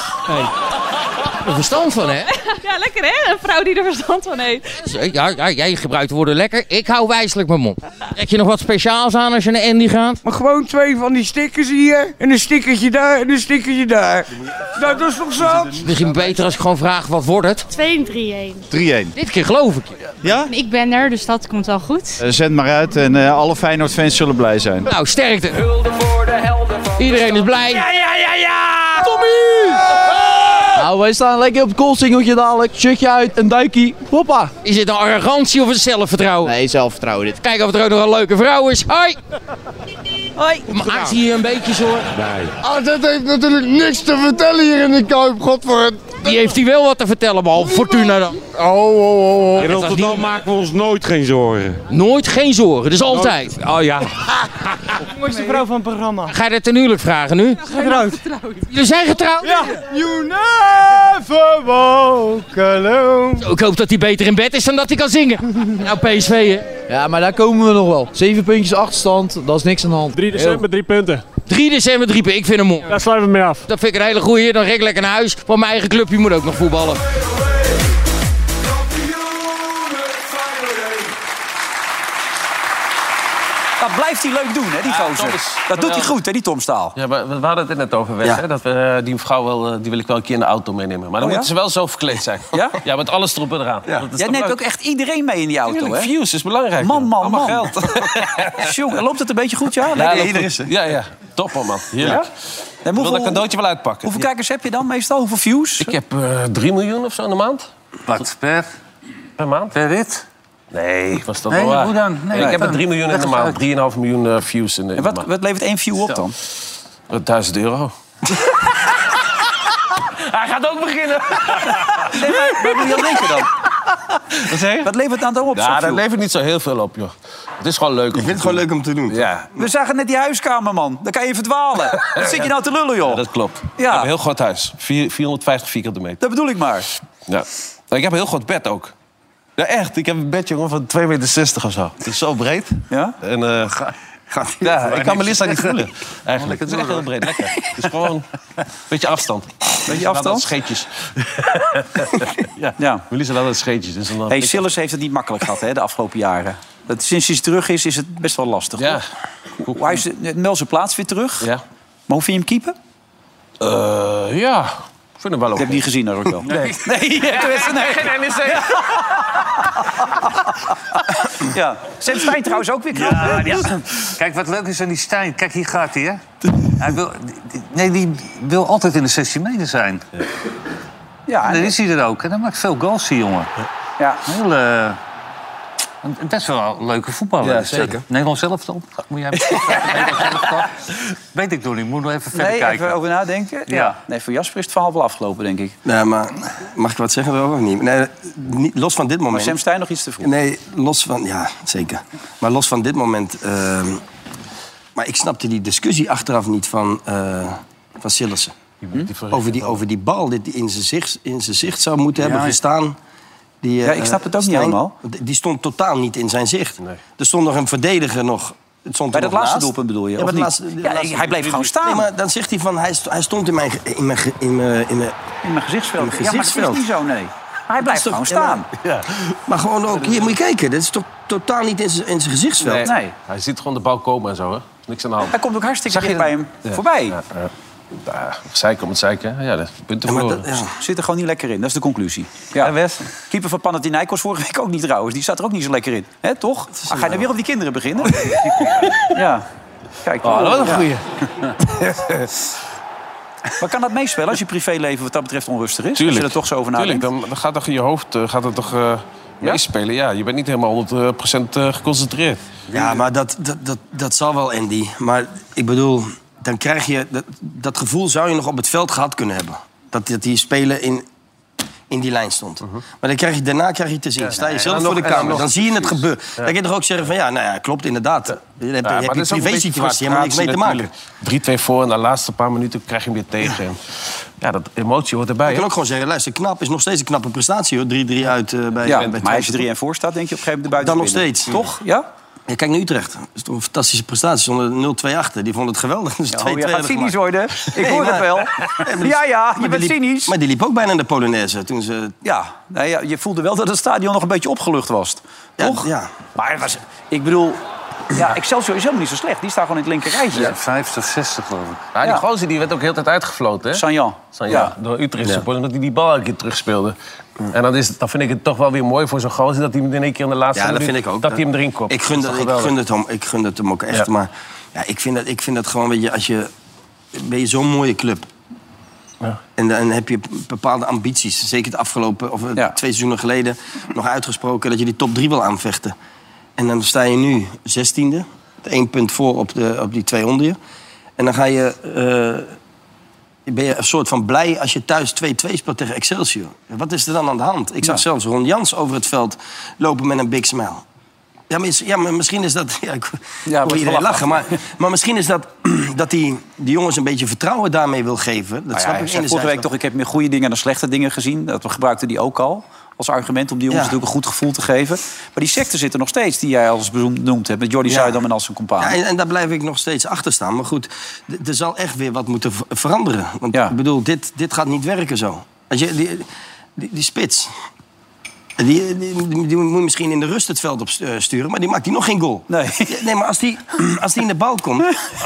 Er verstand van, hè?
Ja, lekker hè? Een vrouw die er verstand van heeft.
Dus, eh, Ja, ja, jij gebruikt de woorden lekker. Ik hou wijselijk mijn mond. Trek je nog wat speciaals aan als je naar Andy gaat?
Maar gewoon twee van die stickers hier. En een stickertje daar en een stickertje daar. Nou, dat is toch zat?
Misschien beter als ik gewoon vraag, wat wordt het?
2-3-1.
3-1.
Dit keer geloof ik je.
Ja?
Ik ben er, dus dat komt wel goed.
Eh, zend maar uit en eh, alle Feyenoord-fans zullen blij zijn.
Nou, sterkte. Iedereen is blij. Ja, ja, ja, ja! Tommy!
Nou, wij staan lekker op het koolsingeltje dadelijk. Shirtje uit, een duikie. Hoppa.
Is dit een arrogantie of een zelfvertrouwen?
Nee, zelfvertrouwen dit.
Kijken of er ook nog een leuke vrouw is. Hoi!
Hoi.
Maar maakt hier een beetje zorgen.
Ah, dat heeft natuurlijk niks te vertellen hier in de Kuip, godverdomme.
Die heeft hij wel wat te vertellen, behalve Fortuna dan.
Oh, oh, oh,
In Rotterdam maken we ons nooit geen zorgen.
Nooit geen zorgen, dus altijd.
Oh ja.
Mooiste vrouw van het programma. Ga je dat ten huwelijk vragen nu?
Getrouwd.
Jullie zijn getrouwd? Ja.
You never walk alone.
Ik hoop dat hij beter in bed is dan dat hij kan [laughs] zingen. Nou, PSV, hè?
Ja, maar daar komen we nog wel. Zeven puntjes achterstand, dat is niks aan de hand.
3 december, 3 punten.
3 december, 3 Ik vind hem mooi.
Daar sluiten we mee af.
Dat vind ik een hele goeie. Dan rek ik lekker naar huis. Want mijn eigen clubje moet ook nog voetballen.
Dat blijft hij leuk doen, hè, die gozer. dat doet hij goed, hè, die Tom Staal.
Ja, maar we we hadden het er net over, Wes.
Ja.
hè, Dat we, eh, die vrouw wel, eh, die wil ik wel een keer in de auto meenemen. Maar dan
Oh, ja?
moeten ze wel zo verkleed zijn.
Ja?
[laughs] Ja, met alles erop en eraan. Dat is
Jij
toch
neemt
leuk?
ook echt iedereen mee in die auto, hè?
Tuurlijk, views is belangrijk.
Man, man,
Allemaal
man.
geld.
[laughs] Tjonge, loopt het een beetje goed, ja?
Ja,
Lekker.
dat goed. Ja, ja. Topper, man. Heerlijk.
Ja?
Ik wil dat cadeautje wel uitpakken.
Hoeveel
Ja.
kijkers heb je dan meestal? Hoeveel views?
Ik heb eh 3 miljoen of zo in de maand.
Wat per,
Per maand.
per rit?
Nee, was dat
Nee,
wel waar?
hoe dan? Nee,
ik heb
dan-
er 3 miljoen in
leg
de
eens
maand.
uit.
3,5 miljoen eh, views in de, in
En
de
wat,
maand.
wat levert één view op dan?
1000 euro. [laughs] Hij gaat ook beginnen.
Nee, maar wat moet je aan denken dan?
Wat zeg je?
Wat levert het dan op? zo'n
Ja, dat
view?
levert niet zo heel veel op, joh. Het is gewoon leuk om
Ik vind het gewoon leuk om te doen.
Ja,
We zagen net die huiskamer, man. Daar kan je [laughs] verdwalen. Wat zit je nou te lullen, joh?
dat klopt. Ik
Ja.
heb een heel groot huis. Vier- 450 vierkante meter.
Dat bedoel ik maar.
Ja. Ik heb een heel groot bed ook. Ja, echt. Ik heb een bed, jongen, van 2,60 meter of zo. Het is zo breed.
Ja?
En, eh,
Gaat niet.
ja, ik kan mijn Lisa niet voelen, eigenlijk. Het is echt heel breed. Lekker. Het is gewoon een beetje afstand.
Beetje
Dat
afstand?
scheetjes.
Ja.
Mijn Lisa laat het scheetjes. Dus dan
Hey, Sillers heeft het niet makkelijk gehad hè, de afgelopen jaren. Dat, sinds hij terug is, is het best wel lastig.
Ja.
hoor. Hij is meld zijn plaats weer terug.
Ja.
Maar hoe vind je hem keeper?
Eh, ja. Ik vind hem wel
Ik
oké.
heb die gezien, hoor ik wel. Nee, [laughs] nee, tenminste, nee.
Geen NEC.
Ja. Sam Stein trouwens ook weer knap.
[laughs] Kijk, wat leuk is aan die Stijn. Kijk, hier gaat hij, hè? Hij wil, die- nee, die wil altijd in de 16 meter zijn.
Ja,
En
en-
dan is hij er ook. En dan maakt veel goals, die jongen.
ja.
Heel, eh, een- een best wel een leuke voetballer.
Ja,
is dat.
zeker.
Nederlands elftal. Moet jij Nederlands elftal? Weet ik nog niet. Moet nog even verder
Nee,
kijken.
even over nadenken. Ja.
Ja.
Nee, voor Jasper is het verhaal wel afgelopen, denk ik.
Nee, Nou, maar mag ik wat zeggen erover of niet? Nee, niet- los van dit
Maar
moment.
Sam Stein nog iets te vroeg.
Nee, los van... Ja, zeker. Maar los van dit moment... ehm, maar ik snapte die discussie achteraf niet van, eh van Sillissen. Over die, over die bal, dit die in zijn zicht, in zijn zicht zou moeten hebben gestaan. Die, eh,
Ja, ik snap het ook niet helemaal.
Die stond totaal niet in zijn zicht. Er stond nog een verdediger nog. Het stond
Bij
er
dat
nog
laatste
naast.
doelpunt bedoel je,
Ja,
of
bij
niet?
het laatste-
Ja,
laatste-
hij blijft gewoon staan.
Nee, maar dan zegt hij van, hij, st- hij stond in mijn, ge- in mijn, ge- in mijn, in mijn,
in mijn gezichtsveld. Ja, maar het is
gezichtsveld.
niet zo, nee. Maar hij blijft
Dat
gewoon
is toch-
staan.
Ja. Maar gewoon ook, hier moet je kijken. Dit is toch totaal niet in zijn in zijn gezichtsveld.
Nee. Hij ziet gewoon de bal komen en zo, hè? Niks aan de hand.
Hij komt ook hartstikke
Zag je
dicht bij hem voorbij.
Ja, ja. Ja, zeiken om het zeiken. hè? Ja, dat is punten
Ja, maar
verloren.
dat, ja. Zit er gewoon niet lekker in, dat is de conclusie. Ja. Keeper van Panathinaikos vorige week ook niet trouwens. Die zat er ook niet zo lekker in. hè? toch? Ah, ga je nou weer op die kinderen beginnen? [laughs] ja. Kijk,
Oh, dat was een
ja.
goeie.
Maar kan dat meespelen als je privéleven wat dat betreft onrustig is? Als
Tuurlijk.
je er toch zo over
Tuurlijk,
nadenkt.
dan, dan gaat toch in je hoofd eh, gaat het toch, eh, meespelen. Ja, je bent niet helemaal 100% eh, geconcentreerd.
Ja, maar dat, dat, dat, dat zal wel, Andy. Maar ik bedoel, dan krijg je... Dat, dat gevoel zou je nog op het veld gehad kunnen hebben. Dat, dat die speler in, in die lijn stond. Maar dan krijg je, daarna krijg je te zien. Sta
Mhm.
je
nee,
zelf
en dan
voor de
nog- en dan
camera.
nog-
Dan zie je het
precies.
gebeuren.
Ja.
Dan kun je toch ook zeggen van... Ja, nou ja, klopt inderdaad. Dan heb je-
Ja,
heb
maar
je
dat is ook
een
een
privé-situatie
beetje
helemaal niks mee te maken.
maken. 3-2 voor en de laatste paar minuten krijg je hem weer tegen. En Ja, dat emotie hoort erbij.
Je
hè?
kan ook gewoon zeggen, luister, knap is nog steeds een knappe prestatie hoor. 3-3 uit eh, bij
Ja,
bij
maar als
Twente.
je 3 en voor staat, denk je op een gegeven moment de
Dan nog
buiten
steeds.
Toch? Ja?
Ja, kijk naar Utrecht. Dat is toch een fantastische prestatie. Ze stonden 0-2 achter. Die vonden het geweldig. [laughs] Dus 2-2
Oh, je
hadden
gaat cynisch
gemaakt.
worden. Ik [laughs]
Nee,
hoor het
maar-
wel.
maar die-
Ja, ja, je
maar die
bent
liep-
cynisch.
Maar die liep ook bijna in de Polonaise toen ze...
Ja, nou ja, je voelde wel dat het stadion nog een beetje opgelucht was.
Ja,
Toch?
ja.
Maar het was, ik bedoel, ja, Excelsior is helemaal niet zo slecht. Die staan gewoon in het linkerrijtje.
Ja, 50 of 60 geloof ik.
Ja, die
Ja.
gozer die werd ook heel de tijd uitgefloten. hè?
Sanjan.
Sanjan,
Ja.
Door Utrecht supporters, omdat hij die bal een keer terugspeelde. En dan, is, het- dan vind ik het toch wel weer mooi voor zo'n gozer... dat hij hem in één keer in de laatste
Ja, dat
minuut-
vind ik ook.
dat hij hem erin kopt.
Ik gun,
Dat
dat,
is
ik,
toch geweldig?
gun het hem, ik gun het hem ook echt.
Ja.
Maar ja, ik, vind dat, ik vind dat gewoon, weet je, als je... Ben je zo'n mooie club.
Ja.
En dan heb je bepaalde ambities. Zeker het afgelopen, of eh, twee seizoenen geleden... nog uitgesproken dat je die top drie wil aanvechten. En dan sta je nu zestiende. Eén punt voor op, de, op die twee onder je. En dan ga je... eh, ben je een soort van blij als je thuis 2-2 speelt tegen Excelsior. Wat is er dan aan de hand? Ik zag zelfs Ron Jans over het veld lopen met een big smile. Ja, maar, is- ja, maar misschien is dat... [laughs] Ja, ik
Ja,
hoor
wordt
iedereen
gelachen.
lachen. Maar, maar misschien is dat [clears throat] dat die, die jongens een beetje vertrouwen daarmee wil geven. Dat
Nou ja,
snap
hij
ik
zei
enerzijds.
vorige week
wel.
toch, ik heb meer goede dingen dan slechte dingen gezien. Dat gebruikte die ook al als argument om die jongens
Ja.
natuurlijk een goed gevoel te geven. Maar die secte zit er nog steeds, die jij als beroemd noemt hebt. Met Jordi
Ja.
Zuidam en als zijn compaan.
Ja, en, en daar blijf ik nog steeds achter staan. Maar goed, d- er zal echt weer wat moeten ver- veranderen. Want ik bedoel, dit, dit gaat niet werken zo. Als je, die, die, die spits... Die, die, die- die moet je misschien in de rust het veld op stu- eh, sturen, maar die maakt die nog geen goal.
Nee.
nee maar als die, als die in de bal
[laughs]
komt,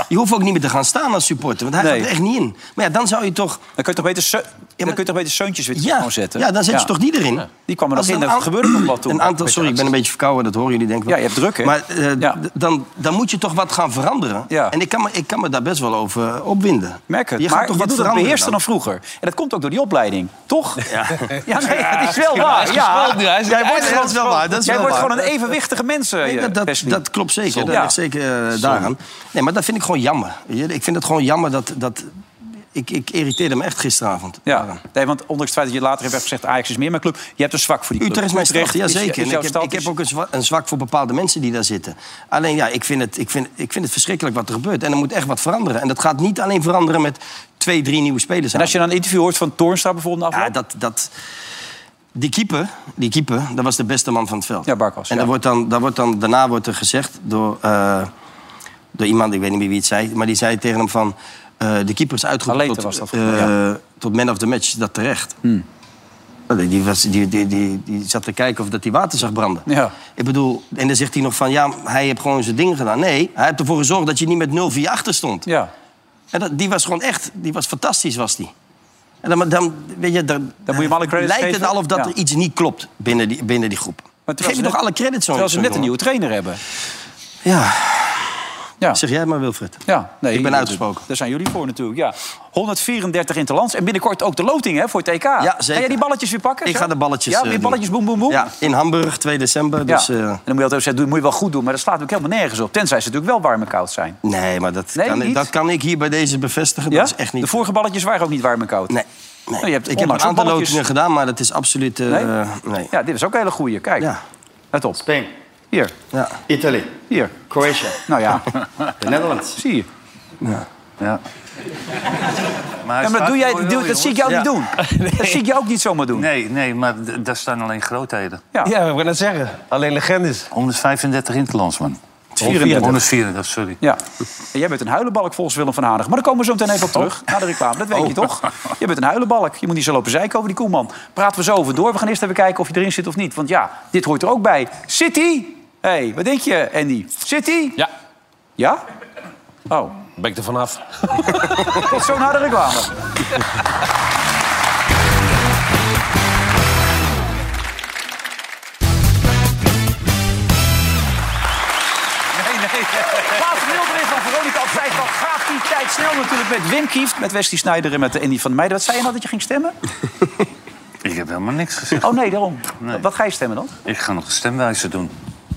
je hoeft ook niet meer te gaan staan als supporter, want hij
Nee.
gaat er echt niet in. Maar ja, dan zou je toch.
Dan kun je toch beter, Seu- dan kun je toch beter Seuntjes weer
Ja,
gewoon zetten?
ja dan zet je toch die erin.
Die kwam er nog
Als
in,
een
dat
aan-
gebeurde nog wat toen.
Een aantal, sorry, ik ben een beetje verkouden, dat horen jullie denk ik wel.
Ja, je hebt druk, hè?
Maar eh, d- dan, dan moet je toch wat gaan veranderen.
Ja.
En ik kan, me, ik kan me daar best wel over opwinden.
Merk het,
Je gaat
maar
toch
je
wat
doet het
veranderen
beheerster dan.
dan?
vroeger. En dat komt ook door die opleiding, toch?
Ja,
Ja,
[laughs]
nee,
Ja,
dat is wel
ja, hij
waar.
is
Ja.
gespeeld nu, hij is-
Jij
hij
wordt
is-
gewoon-
dat is wel waar, dat is
Jij
wel
wordt
waar.
gewoon een evenwichtige mens. eh,
Nee, dat, dat,
Wesley.
dat klopt zeker. Dat
Ja.
ligt zeker eh, daaraan. Nee, maar dat vind ik gewoon jammer. Weet je, Ik vind het gewoon jammer dat... dat ik, ik irriteerde me echt gisteravond.
Ja, nee, want ondanks het feit dat je later hebt gezegd... Ajax is meer mijn club, je hebt een zwak voor die club.
Utrecht is mijn stad, ja
is-
zeker.
is
En
jouw
ik, heb,
stad,
ik heb
is-
ook een zwa- een zwak voor bepaalde mensen die daar zitten. Alleen ja, ik vind, het, ik, vind, ik vind het verschrikkelijk wat er gebeurt. En er moet echt wat veranderen. En dat gaat niet alleen veranderen met twee, drie nieuwe spelers.
En als je dan een interview hoort van Toornstra bijvoorbeeld...
Ja, dat, dat, die keeper, die keeper, dat was de beste man van het veld.
Ja, Barkas,
En
ja.
daar wordt dan, daar wordt dan, daarna wordt er gezegd door, eh, door iemand, ik weet niet meer wie het zei... maar die zei tegen hem van, eh, de keeper is uitgeroepen
Aleta
tot,
was dat,
eh,
ja. Hmm.
tot man of the match. Is dat terecht? Nou, Die, was, die, die, die, die zat te kijken of dat hij water zag branden.
Ja.
Ik bedoel, en dan zegt hij nog van, ja, hij heeft gewoon zijn ding gedaan. Nee, hij heeft ervoor gezorgd dat je niet met 0-4 achter stond.
Ja.
En dat, die was gewoon echt, die was fantastisch, was die. En dan, dan, weet je, dan,
Dan moet je hem alle credits
lijkt
geven.
het al of dat
Ja.
er iets niet klopt binnen die, binnen die groep.
terwijl
Geef
ze
je toch
net-
alle credits zo
Terwijl ze
zo'n
net een nieuwe
jongen?
trainer hebben.
Ja.
Ja.
Zeg jij het maar, Wilfred.
Ja, nee,
Ik ben
dat-
uitgesproken.
Daar zijn jullie voor natuurlijk, ja. 134 in het land en binnenkort ook de loting hè, voor het EK.
Ja,
Ga jij
zeker.
die balletjes weer pakken?
Ik
zo?
ga de balletjes,
Ja,
eh,
weer
doen.
balletjes, boem, boem, boem.
Ja, in Hamburg, 2 december.
Ja.
Dus, eh,
en dan moet je altijd zeggen, doe- moet je wel goed doen. Maar dat slaat natuurlijk helemaal nergens op. Tenzij ze natuurlijk wel warm en koud zijn.
nee, maar dat,
Nee,
kan, ik-
niet?
dat kan ik hier bij deze bevestigen.
Ja?
Dat is echt niet...
De vorige balletjes waren ook niet warm en koud.
Nee.
Nou, je hebt
ik heb een
onlangs ook
aantal
balletjes-
lotingen gedaan, maar dat is absoluut... eh,
Nee?
nee.
Ja, dit is ook een hele goeie. Kijk,
Ja.
let op.
Spain,
Hier,
Ja.
Italy,
hier.
Croatia,
[laughs]
Nou ja,
the Netherlands.
zie je.
Ja. hij
Ja, maar
staat
doe jij,
mooi
doe-
wel,
dat zie ik jou niet doen.
[laughs]
jongens.
Dat zie ik jou ook niet zomaar doen.
Nee, nee maar d- daar staan alleen grootheden.
Ja,
we gaan het zeggen. Alleen legendes.
135 interlands, man.
134.
134, sorry.
Ja. En jij bent een huilenbalk volgens Willem van Hanegem. Maar daar komen we zo meteen even op terug. Na de reclame, dat weet je toch? Je bent een huilenbalk. Je moet niet zo lopen zeiken over die Koeman. Praten we zo over door. We gaan eerst even kijken of je erin zit of niet. Want ja, dit hoort er ook bij. City? Hé, hey, wat denk je, Andy? City?
Ja.
Ja? Oh.
Ben ik er vanaf.
Tot zo na de reclame. Nee, nee. Laatste Milder is van Veronica op vijf. Wat gaat die tijd snel natuurlijk met Wim Kieft, met Westie Snijder en met de Andy van Meijden. Wat zei je nou dat je ging stemmen?
Ik heb helemaal niks gezegd.
Oh nee, daarom. Wat ga je stemmen dan?
Ik ga nog een stemwijzer doen.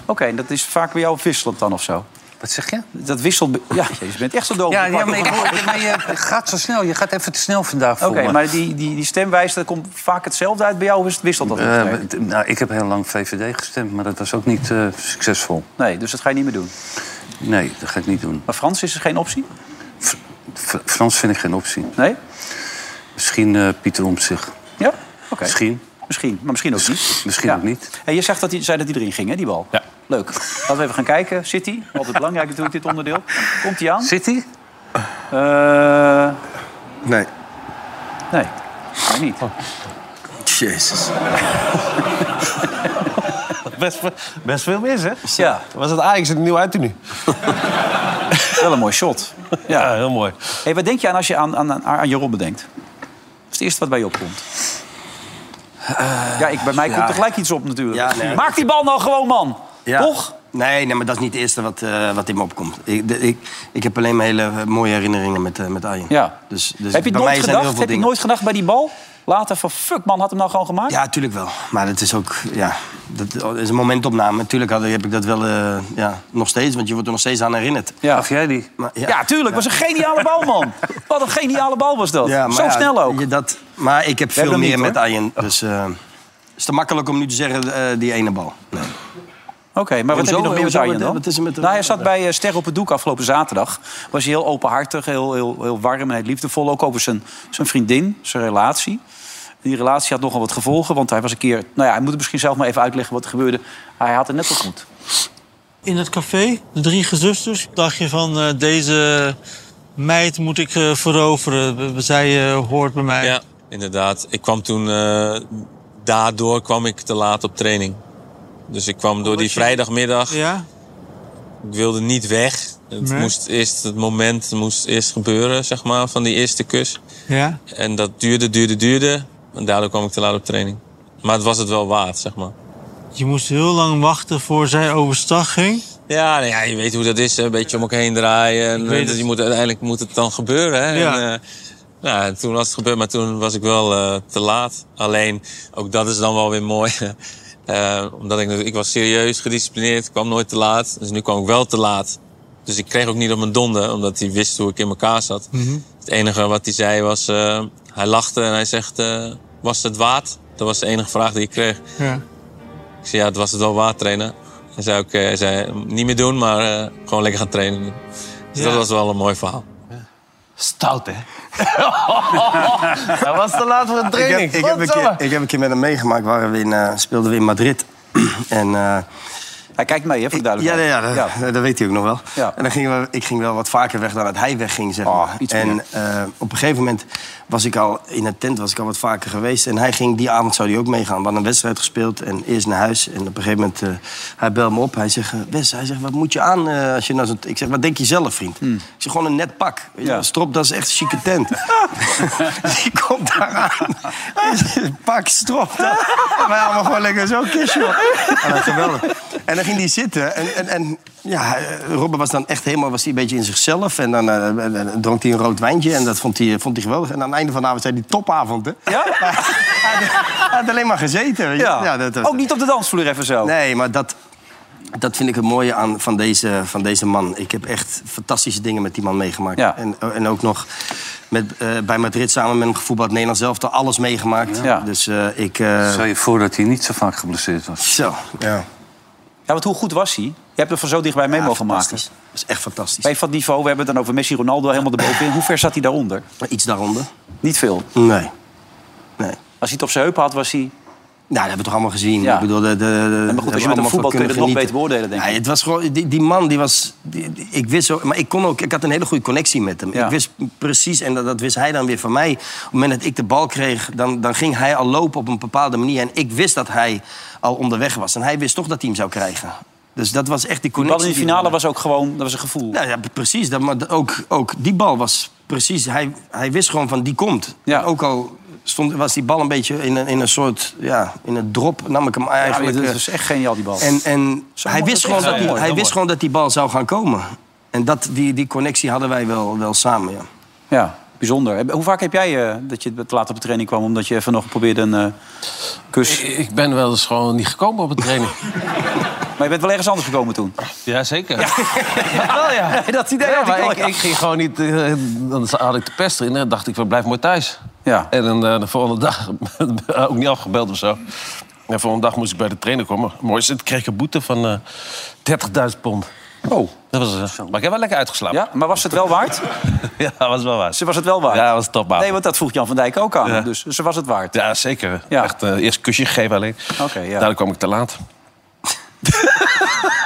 Oké, en dat is vaak bij jou wisselend dan of zo?
Wat zeg je?
Dat wisselt... be- Ja, je bent echt zo doof.
Ja, ja maar, ik, maar je gaat zo snel. Je gaat even te snel vandaag
Oké,
voor me.
maar die, die, die stemwijze, dat komt vaak hetzelfde uit bij jou? Of is het- wisselt dat?
Eh,
niet?
d- nou, ik heb heel lang VVD gestemd, maar dat was ook niet eh, succesvol.
Nee, dus dat ga je niet meer doen?
Nee, dat ga ik niet doen.
Maar Frans is er geen optie?
F- Frans vind ik geen optie.
Nee?
Misschien eh, Pieter Omtzigt.
Ja? Oké.
Misschien. Dus-
Misschien, maar misschien ook niet.
Misschien ook niet.
En je zegt dat hij, zei dat hij erin ging, hè, die bal? Ja. Leuk. Laten we even gaan kijken. City, altijd belangrijk natuurlijk, dit onderdeel. Komt hij aan? Eh,
City?
Nee.
Nee, hij niet.
Jezus.
[laughs] Best, best veel mis, hè?
Ja.
Was het Ajax het nieuw uit nu?
Wel een mooi shot. Ja,
heel mooi.
Hey, wat denk je aan als je aan, aan, aan, aan Jeroen bedenkt? Dat is het eerste wat bij je opkomt. ja, ik, bij mij komt
Eh, ja.
er gelijk iets op natuurlijk.
Ja, nee.
Maak die bal nou gewoon, man. Toch?
Nee, nee, maar dat is niet het eerste wat, eh, wat in me opkomt. Ik, de- ik, ik heb alleen maar hele eh, mooie herinneringen met, eh met Arjen.
Ja.
Dus, dus
heb je het
bij mij
nooit
zijn er heel
gedacht?
veel
Heb je
dingen-
nooit gedacht bij die bal? Later van, fuck man, had hem nou gewoon gemaakt?
Ja, tuurlijk wel. Maar het is ook, ja, dat is een momentopname. Natuurlijk had- heb ik dat wel eh, ja, nog steeds, want je wordt er nog steeds aan herinnerd.
Ja.
Gaf jij die?
Maar,
Ja, tuurlijk. was een geniale bal,
[laughs]
man. Wat een geniale bal was dat.
Ja, maar
Zo
ja,
snel ook.
je dat, maar ik heb
hebben
veel
hem
meer
niet,
met
hoor.
Arjen. Dus eh, het is te makkelijk om nu te zeggen, eh, die ene bal.
Oké, maar wat
Hoezo?
heb je nog meer met
Hoezo?
Arjen
Wat-
dan?
wat is er met de-
nou, hij zat bij eh, Ster op het Doek afgelopen zaterdag. Was hij heel openhartig, heel, heel, heel warm en heel liefdevol. Ook over zijn, zijn vriendin, zijn relatie. En die relatie had nogal wat gevolgen, want hij was een keer... Nou ja, hij moet het misschien zelf maar even uitleggen wat er gebeurde. Hij had het net ontmoet.
In het café, de drie gezusters, dacht je van eh, deze meid moet ik eh, veroveren. B- b- Zij eh, hoort bij mij.
Ja, inderdaad. Ik kwam toen... eh, daardoor kwam ik te laat op training. Dus ik kwam door die vrijdagmiddag.
Ja?
Ik wilde niet weg. Het
Nee.
moest eerst... Het moment moest eerst gebeuren, zeg maar, van die eerste kus.
Ja?
En dat duurde, duurde, duurde. En daardoor kwam ik te laat op training. Maar het was het wel waard, zeg maar.
Je moest heel lang wachten voor zij overstag ging.
Ja, nou ja, je weet hoe dat is. hè. Een beetje om elkaar heen draaien. En,
weet
eh,
het.
Je moet, uiteindelijk moet het dan gebeuren. Hè?
Ja.
En, eh, nou, en toen was het gebeurd, maar toen was ik wel eh, te laat. Alleen, ook dat is dan wel weer mooi. [laughs] Eh, omdat ik, natuurlijk- ik was serieus gedisciplineerd, kwam nooit te laat. Dus nu kwam ik wel te laat. Dus ik kreeg ook niet op mijn donder, omdat hij wist hoe ik in elkaar zat.
Mhm.
Het enige wat hij zei was... eh, hij lachte en hij zegt, eh, was het waard? Dat was de enige vraag die ik kreeg.
Ja.
Ik zei, ja, het was het wel waard trainen. Hij zei ook, eh, hij zei, niet meer doen, maar eh, gewoon lekker gaan trainen. Dus dat was wel een mooi verhaal.
Stout, hè? [laughs] Hij was te laat voor de training.
Ik heb, ik, heb een keer, ik heb een keer met hem meegemaakt, waren we in, eh, speelden we in Madrid. [clears throat] en, eh,
hij kijkt mee, hè, voor de
Ja, ja,
duidelijkheid.
dat, dat weet hij ook nog wel.
Ja. Ah,
En dan gingen we, ik ging wel wat vaker weg dan dat hij wegging, zeg maar.
iets
en
meer.
eh, op een gegeven moment was ik al in de tent was ik al wat vaker geweest. En hij ging, die avond zou hij ook meegaan. We hadden een wedstrijd gespeeld en eerst naar huis. En op een gegeven moment, eh, hij belde me op. Hij zegt, eh, Wes, hij zegt, wat moet je aan eh, als je naar zo'n... Ik zeg, wat denk je zelf, vriend?
Hmm.
Ik zeg, gewoon een net pak. Weet je wel, Strop, dat is echt een chique
[laughs]
tent. Dus ik kom daar aan. Pak strop. En wij allemaal gewoon lekker zo kistje. joh. En dan geweldig. En dan ging hij zitten. En, en, en ja, eh, Robben was dan echt helemaal was hij een beetje in zichzelf. En dan eh, en- en dronk hij een rood wijntje. En dat vond hij, eh, vond hij geweldig. En aan het einde van de avond zei hij topavond. Hè?
Ja?
Hij had alleen maar gezeten. Weet je? [laughs]
Ja.
dat,
Ook niet op de dansvloer even zo.
Nee, maar dat, dat vind ik het mooie aan van deze, van deze man. Ik heb echt fantastische dingen met die man meegemaakt.
Ja.
En, en ook nog met, eh, bij Madrid samen met hem gevoetbald. Nederland zelf daar alles meegemaakt.
Ja.
Dus eh, ik... eh,
Stel je voor dat hij niet zo vaak geblesseerd was.
Zo, ja.
Ja, want hoe goed was hij? hebt hem van zo dichtbij mee mogen maken. Dat
is echt fantastisch.
Bij van het niveau, we hebben het dan over Messi, Ronaldo helemaal erbovenin. Hoe ver zat hij daaronder?
Iets daaronder.
Niet veel.
Nee. nee.
Als hij het op zijn heupen had, was hij...
Nou, dat hebben we toch allemaal gezien. Ik bedoel, de, de,
maar goed, als je met een voetbal
kunnen
kunt het nog beter beoordelen, denk ik.
Ja, het was gewoon, die, die man die was. die- die- ik wist zo, maar ik kon ook. Ik had een hele goede connectie met hem.
Ja.
Ik wist precies, en dat, dat wist hij dan weer van mij. Op het moment dat ik de bal kreeg, dan, dan ging hij al lopen op een bepaalde manier. En ik wist dat hij al onderweg was. En hij wist toch dat hij hem zou krijgen. Dus dat was echt
Die
die connectie.
bal in de
die we
finale was ook gewoon, dat was een gevoel.
nou ja, precies. Dat, maar ook, ook die bal was precies... Hij, hij wist gewoon van, die komt. Ook al stond, was die bal een beetje in een, in een soort... Ja, in een drop nam ik hem eigenlijk...
dat
eh,
was echt geniaal, die bal.
En, en
Zo
hij
mooi,
wist,
dat
gewoon
is
dat,
heel
die,
mooi,
hij
heel
wist gewoon dat die bal zou gaan komen. En dat, die, die connectie hadden wij wel, wel samen, ja.
Ja, bijzonder. Heb- Hoe vaak heb jij eh, dat je te laat op de training kwam... omdat je even nog probeerde een eh, kus...
Ik, ik ben wel eens gewoon niet gekomen op een training.
Maar je bent wel ergens anders gekomen toen?
[laughs] Ja, zeker. [laughs]
Wel ja. dat idee had
maar
ik al,
ik,
ja.
ik ging gewoon niet. eh, dan had ik de pest erin. Dan dacht ik, van, blijf maar thuis.
Ja.
En dan eh, de volgende dag [laughs] ook niet afgebeld of zo. En de volgende dag moest ik bij de trainer komen. Mooi is het, kreeg ik een boete van eh 30.000 pond.
Oh.
Dat was, eh, maar ik heb wel lekker uitgeslapen.
Ja, maar was het wel waard?
[laughs] ja, was wel waar.
Ze was het wel waard?
Ja, was top
Nee, want dat vroeg Jan van Dijk ook aan.
Ja.
Dus ze was het waard.
Ja, zeker. Echt, eh, eerst kusje gegeven alleen.
Oké, ja.
Daardoor kwam ik te laat.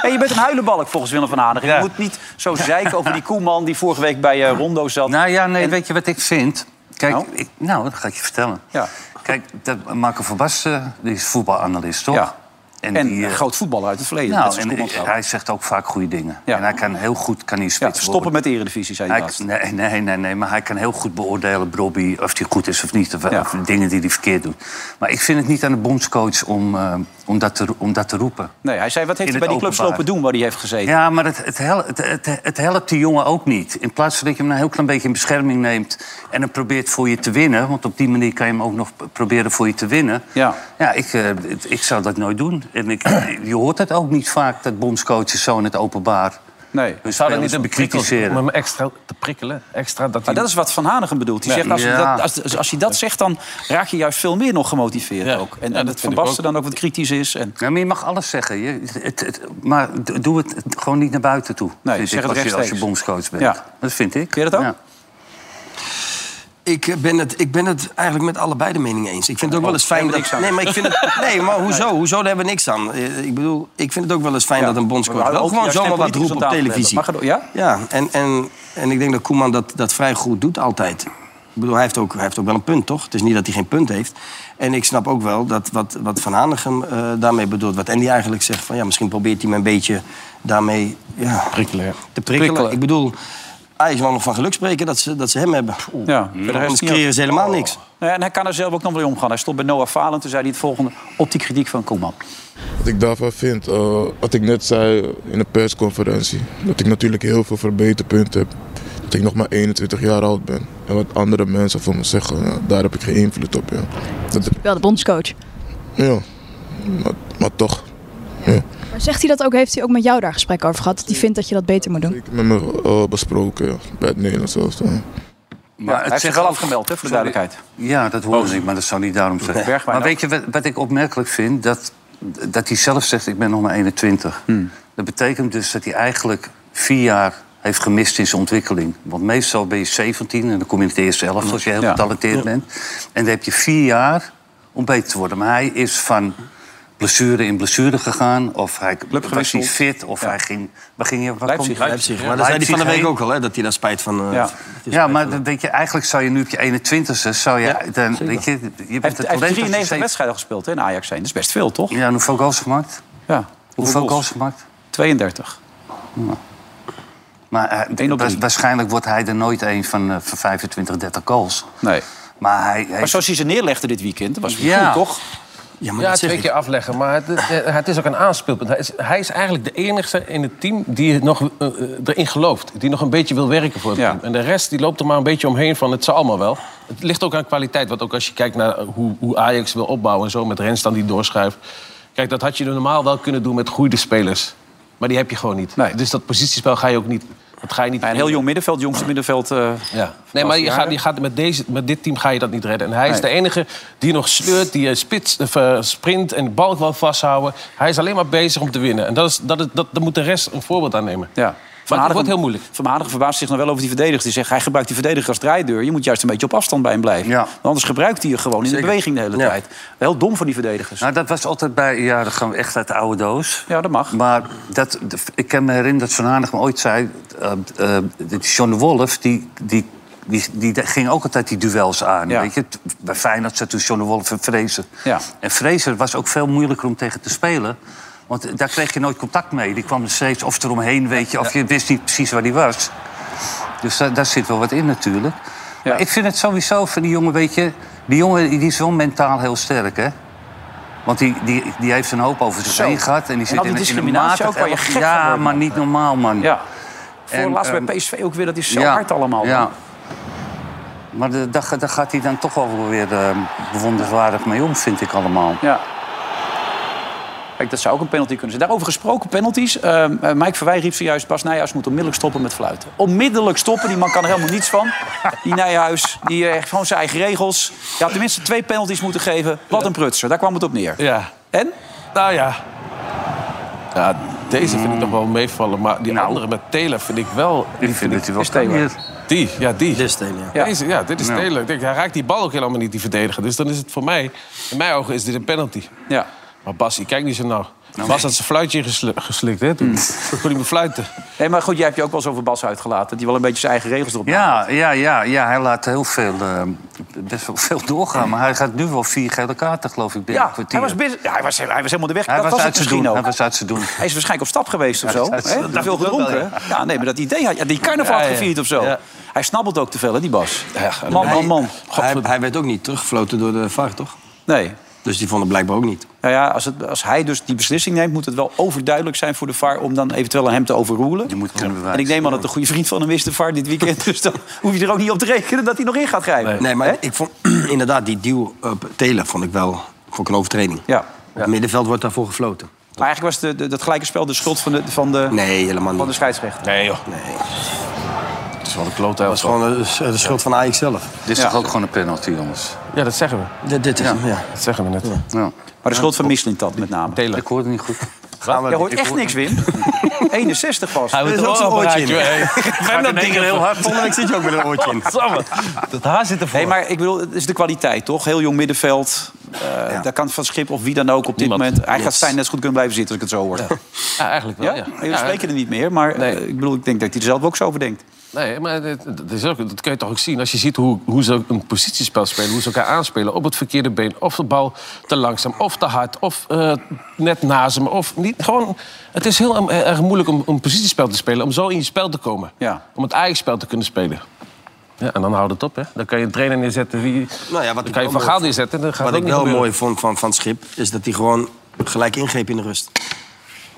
En je bent een huilenbalk volgens Willem van Hanegem. Je moet niet zo zeiken over die Koeman die vorige week bij eh, Rondo zat.
Nou ja, nee, weet je wat ik vind? Kijk,
Nou?
ik, nou dat ga ik je vertellen.
Ja.
Kijk, dat, Marco van Basten die is voetbalanalist, toch?
Ja.
En,
En
die,
een
eh,
groot voetballer uit het verleden. net
Nou,
als
en
Koeman
ik-
trouwens.
hij zegt ook vaak goede dingen. En hij kan heel goed kan hij
ja,
spits
stoppen
worden.
met de eredivisie, zei hij
Hij,
laatst.
nee, nee, nee, nee, maar hij kan heel goed beoordelen, Bobby, of hij goed is of niet. Of,
Ja.
of dingen die hij verkeerd doet. Maar ik vind het niet aan de bondscoach om, eh, om, dat, te, ro- om dat te roepen.
Nee, hij zei, wat heeft
In
hij bij
het
die clubs
openbaar.
lopen doen waar hij heeft gezeten?
Ja, maar het, het, hel- het, het, het helpt die jongen ook niet. In plaats van dat je hem een heel klein beetje in bescherming neemt... en hem probeert voor je te winnen... want op die manier kan je hem ook nog p- proberen voor je te winnen...
Ja.
ja ik, eh, het- ik zou dat nooit doen. En ik, [clears throat] je hoort het ook niet vaak, dat bondscoaches zo in het openbaar...
Nee,
hun
Zou dat
spelers
niet een prikkel
bekritiseren.
om hem extra te prikkelen? Extra dat hij...
Maar dat is wat Van Hanegem bedoelt. Die
Ja.
zegt, als, je
Ja.
dat, als, als je dat zegt, dan raak je juist veel meer nog gemotiveerd ook. En,
Ja,
en
dat
dat Van
vind ik
Basten dan ook wat kritisch is. En...
Ja, maar je mag alles zeggen. Je, het, het, maar d- doe het gewoon niet naar buiten toe.
Nee,
vind
zeg
ik,
het
als, je, als je
rechtstreeks.
bondscoach bent.
Ja.
Dat vind ik.
Vind je dat ook?
Ja.
Ik eh, ben, het, ik ben het eigenlijk met allebei de mening eens. Ik vind het ook wel eens fijn
helemaal
dat...
niks aan.
Nee, maar, ik vind het, [laughs] nee, maar hoezo? Hoezo? Daar hebben we niks aan. Eh, Ik bedoel, ik vind het ook wel eens fijn
Ja,
dat een
maar
bondscoach
we
wel
houden
gewoon
ook juist
zomaar wat
geen
roept op
politicus aan tafel
televisie.
hebben. Mag
ja, en, en, en ik denk dat Koeman dat, dat vrij goed doet altijd. Ik bedoel, hij heeft, ook, hij heeft ook wel een punt, toch? Het is niet dat hij geen punt heeft. En ik snap ook wel dat wat, wat Van Hanegem eh, daarmee bedoelt... wat Andy eigenlijk zegt, van ja, misschien probeert hij me een beetje daarmee... Ja,
prikkelen, ja.
te prikkelen.
Prikkelen.
Ik bedoel, Ajax wil nog van geluk spreken dat ze, dat ze hem hebben. Oh.
Ja, voor de rest
Anders
niet
creëren
ook.
ze helemaal niks.
Nou ja, en hij kan er zelf ook nog mee omgaan. Hij stond bij Noah Falen, toen zei hij het volgende op die kritiek van Koeman.
Wat ik daarvan vind, eh, wat ik net zei in de persconferentie, dat ik natuurlijk heel veel verbeterpunten heb. Dat ik nog maar 21 jaar oud ben. En wat andere mensen van me zeggen, ja, daar heb ik geen invloed op. Ja, dat,
Wel de bondscoach.
ja. Maar, maar toch. Ja.
Maar zegt hij dat ook? Heeft hij ook met jou daar gesprek over gehad? Dat hij vindt dat je dat beter moet doen?
Ik heb met me eh, besproken ja, bij het Nederlands elftal.
Maar
hij heeft zich wel afgemeld, hè, voor de
Sorry.
duidelijkheid.
Ja, dat hoorde ik, maar dat zou niet daarom zijn.
Oh. Bergwijn
maar
ook.
weet je wat, wat ik opmerkelijk vind? Dat, dat hij zelf zegt, ik ben nog maar 21.
Hmm.
Dat betekent dus dat hij eigenlijk vier jaar heeft gemist in zijn ontwikkeling. Want meestal ben je 17 en dan kom je in het eerste elf... als je heel
Ja.
getalenteerd bent. En dan heb je vier jaar om beter te worden. Maar hij is van blessure in blessure gegaan. Of hij was
gewisseld.
niet fit, of hij ging... Waar ging je, waar
Leipzig,
kom je-
Leipzig.
Maar dat zei hij van de
Leipzig
week
heen.
ook al, hè, dat hij daar spijt van... eh,
Ja, ja maar dan weet je, eigenlijk zou je nu op je 21ste... Zou je,
Ja,
dan,
zeker.
weet je, je bent
Hij heeft, hij
het
heeft
talent dat je
93
steeds-
wedstrijden gespeeld hè, in Ajax zijn. Dat is best veel, toch?
Ja, en hoeveel goals gemaakt?
Ja.
Hoeveel goals gemaakt?
32.
Maar eh,
Eén op
waars-
drie.
waarschijnlijk wordt hij er nooit een van, eh, van 25, 30 goals.
Nee.
Maar, hij, hij-
Maar zoals hij ze neerlegde dit weekend, dat was weer
Ja.
goed, toch?
Ja,
Ja, twee keer afleggen, maar het, het- het is ook een aanspeelpunt. Hij is, hij is eigenlijk de enige in het team die het nog, eh, eh, erin gelooft. Die nog een beetje wil werken voor het team. En de rest die loopt er maar een beetje omheen van het zal allemaal wel. Het ligt ook aan kwaliteit. Want ook als je kijkt naar eh, hoe, hoe Ajax wil opbouwen en zo... met Rens dan die doorschuift. Kijk, dat had je normaal wel kunnen doen met goede spelers. Maar die heb je gewoon niet. Dus dat positiespel ga je ook niet Dat ga je niet
Een heel jong middenveld, jongste middenveld. eh,
Ja. Nee, maar je gaat, je gaat met, deze, met dit team ga je dat niet redden. En hij is de
Nee.
enige die nog sleurt, die eh, spits, of, eh, sprint en de bal wel vasthouden. Hij is alleen maar bezig om te winnen. En dat is, dat is, dat, daar moet de rest een voorbeeld aan nemen.
Ja.
Maar het wordt heel moeilijk.
Van Hanegem verbaast zich nog wel over die verdediger. Die zegt, hij gebruikt die verdediger als draaideur. Je moet juist een beetje op afstand bij hem blijven. Want anders gebruikt hij je gewoon in de beweging de hele tijd. Heel dom van die verdedigers.
Nou, dat was altijd bij... Ja, dan gaan we echt uit de oude doos.
Ja, dat mag.
Maar dat, ik kan me herinneren dat Van Hanegem me ooit zei... eh, eh, dat John de Wolf, die... die die, die ging ook altijd die duels aan. Weet je? T- Bij Feyenoord zat toen John de Wolf en Fraser.
Ja.
En Fraser was ook veel moeilijker om tegen te spelen. Want daar kreeg je nooit contact mee. Die kwam er steeds of eromheen, weet je. Of je wist niet precies waar die was. Dus daar, daar zit wel wat in natuurlijk. Maar ik vind het sowieso van die jongen, weet je... Die jongen die is wel mentaal heel sterk, hè? Want die, die, die heeft een hoop over
Zo.
zich heen gehad. En
En
die zit
al die
in, een- in een
discriminatie
matig
ook waar je
elf-
gek van
Ja,
wordt,
maar niet normaal, man.
Ja. Voor
En,
laatst
ehm,
bij PSV ook weer, dat is zo
ja,
hard allemaal.
Ja. Maar de- daar ga- daar gaat hij dan toch wel weer eh, bewonderenswaardig mee om, vind ik allemaal.
Ja. Kijk, dat zou ook een penalty kunnen zijn. Daarover gesproken, penalties. Ehm, eh, Mike Verwij riep zojuist... Bas Nijhuis moet onmiddellijk stoppen met fluiten. Onmiddellijk stoppen, die man kan er helemaal niets van. Die Nijhuis, die eh, heeft gewoon zijn eigen regels. Je had tenminste twee penalties moeten geven. Wat een prutser, daar kwam het op neer.
Ja.
En?
Nou ja. ja deze vind ik nog wel meevallen. Maar die andere met Taylor vind Nou. ik wel... Die vind ik wel
Taylor.
Die, ja, die. Dit is
Ja.
Ja. Deze, ja, dit is
Ja.
Taylor. Ik denk, hij raakt die bal ook helemaal niet, die verdediger. Dus dan is het voor mij... In mijn ogen is dit een penalty.
Ja.
Maar Bas, die kijkt niet zo nou. Mm. Bas had zijn fluitje geslu- geslikt, hè? Toen toen kon hij me fluiten.
Nee, maar goed, jij hebt je ook wel eens over Bas uitgelaten. Dat hij wel een beetje zijn eigen regels erop
Ja, ja, ja, ja, hij laat heel veel, eh, best wel veel doorgaan. Maar hij gaat nu wel vier gele kaarten, geloof ik, binnen
Ja,
een kwartier.
hij was, bus- ja, hij, was, hij was helemaal de weg.
Hij
dat
was
was het
uit zijn
misschien
doen,
ook.
hij was uit zijn doen.
Hij is waarschijnlijk op stap geweest of
Ja,
zo.
dat is-
hè?
dat
Te veel
doet wel,
gedronken.
ja.
hè? Ja, nee, maar dat idee had ja, Die carnaval had
Ja, ja.
gevierd of zo.
Ja.
Hij snabbelt ook te veel, hè, die Bas. man, man, man.
Hij, hij werd ook niet teruggefloten door de VAR, toch?
Nee.
Dus die vonden blijkbaar ook niet.
Nou ja, als, het, als hij dus die beslissing neemt... moet het wel overduidelijk zijn voor de VAR... om dan eventueel aan hem te overroelen. en ik neem aan dat de goede vriend van hem is, de VAR, dit weekend. [laughs] Dus dan hoef je er ook niet op te rekenen dat hij nog in gaat grijpen.
Nee, maar ik vond [clears throat] inderdaad die deal eh, op Telen vond ik wel vond ik een overtreding.
Ja.
Op het middenveld wordt daarvoor gefloten.
Maar eigenlijk was de, de- dat gelijke spel de schuld van de, van de, van de scheidsrechter.
Nee, joh.
Nee.
Het is wel een klote Dat
is gewoon de, de schuld van Ajax zelf.
Dit is toch ook gewoon een penalty, jongens?
Ja, dat zeggen we.
Dit, dit is hem, ja.
Dat zeggen we net.
Ja.
Maar de schuld van Mislintat met name.
Ik hoorde niet goed.
Je hoort echt niks, Wim. [laughs] 61 pas.
Hij
Er is ook zo'n
Gaat in één keer heel hard. Volgende week zit je ook met een oortje in.
Dat haar zit ervoor.
Nee, maar ik bedoel, het is de kwaliteit, toch? Heel jong middenveld. Eh, Daar kan Van Schip of wie dan ook op dit moment... Hij gaat Stijn net zo goed kunnen blijven zitten, als ik het zo hoor. Ja,
Ja, eigenlijk wel, ja.
Maar Jullie spreken er niet meer, maar eh, ik bedoel, ik denk dat hij er zelf ook zo over denkt.
Nee, maar dat, dat is ook, dat kun je toch ook zien. Als je ziet hoe, hoe ze een positiespel spelen, hoe ze elkaar aanspelen op het verkeerde been. Of de bal te langzaam, of te hard, of eh, net naast hem. Of niet, gewoon, het is heel eh, erg moeilijk om een positiespel te spelen, om zo in je spel te komen.
Ja.
Om het eigen spel te kunnen spelen. Ja, en dan houdt het op, hè. Dan kan je een trainer neerzetten, die,
Nou ja, wat
dan
ik
kan je
wel
Van Gaal
mooi-
neerzetten. Dan gaat
Wat
het
ik
ook
wel
niet
mooi vond van, van Schip, is dat hij gewoon gelijk ingreep in de rust.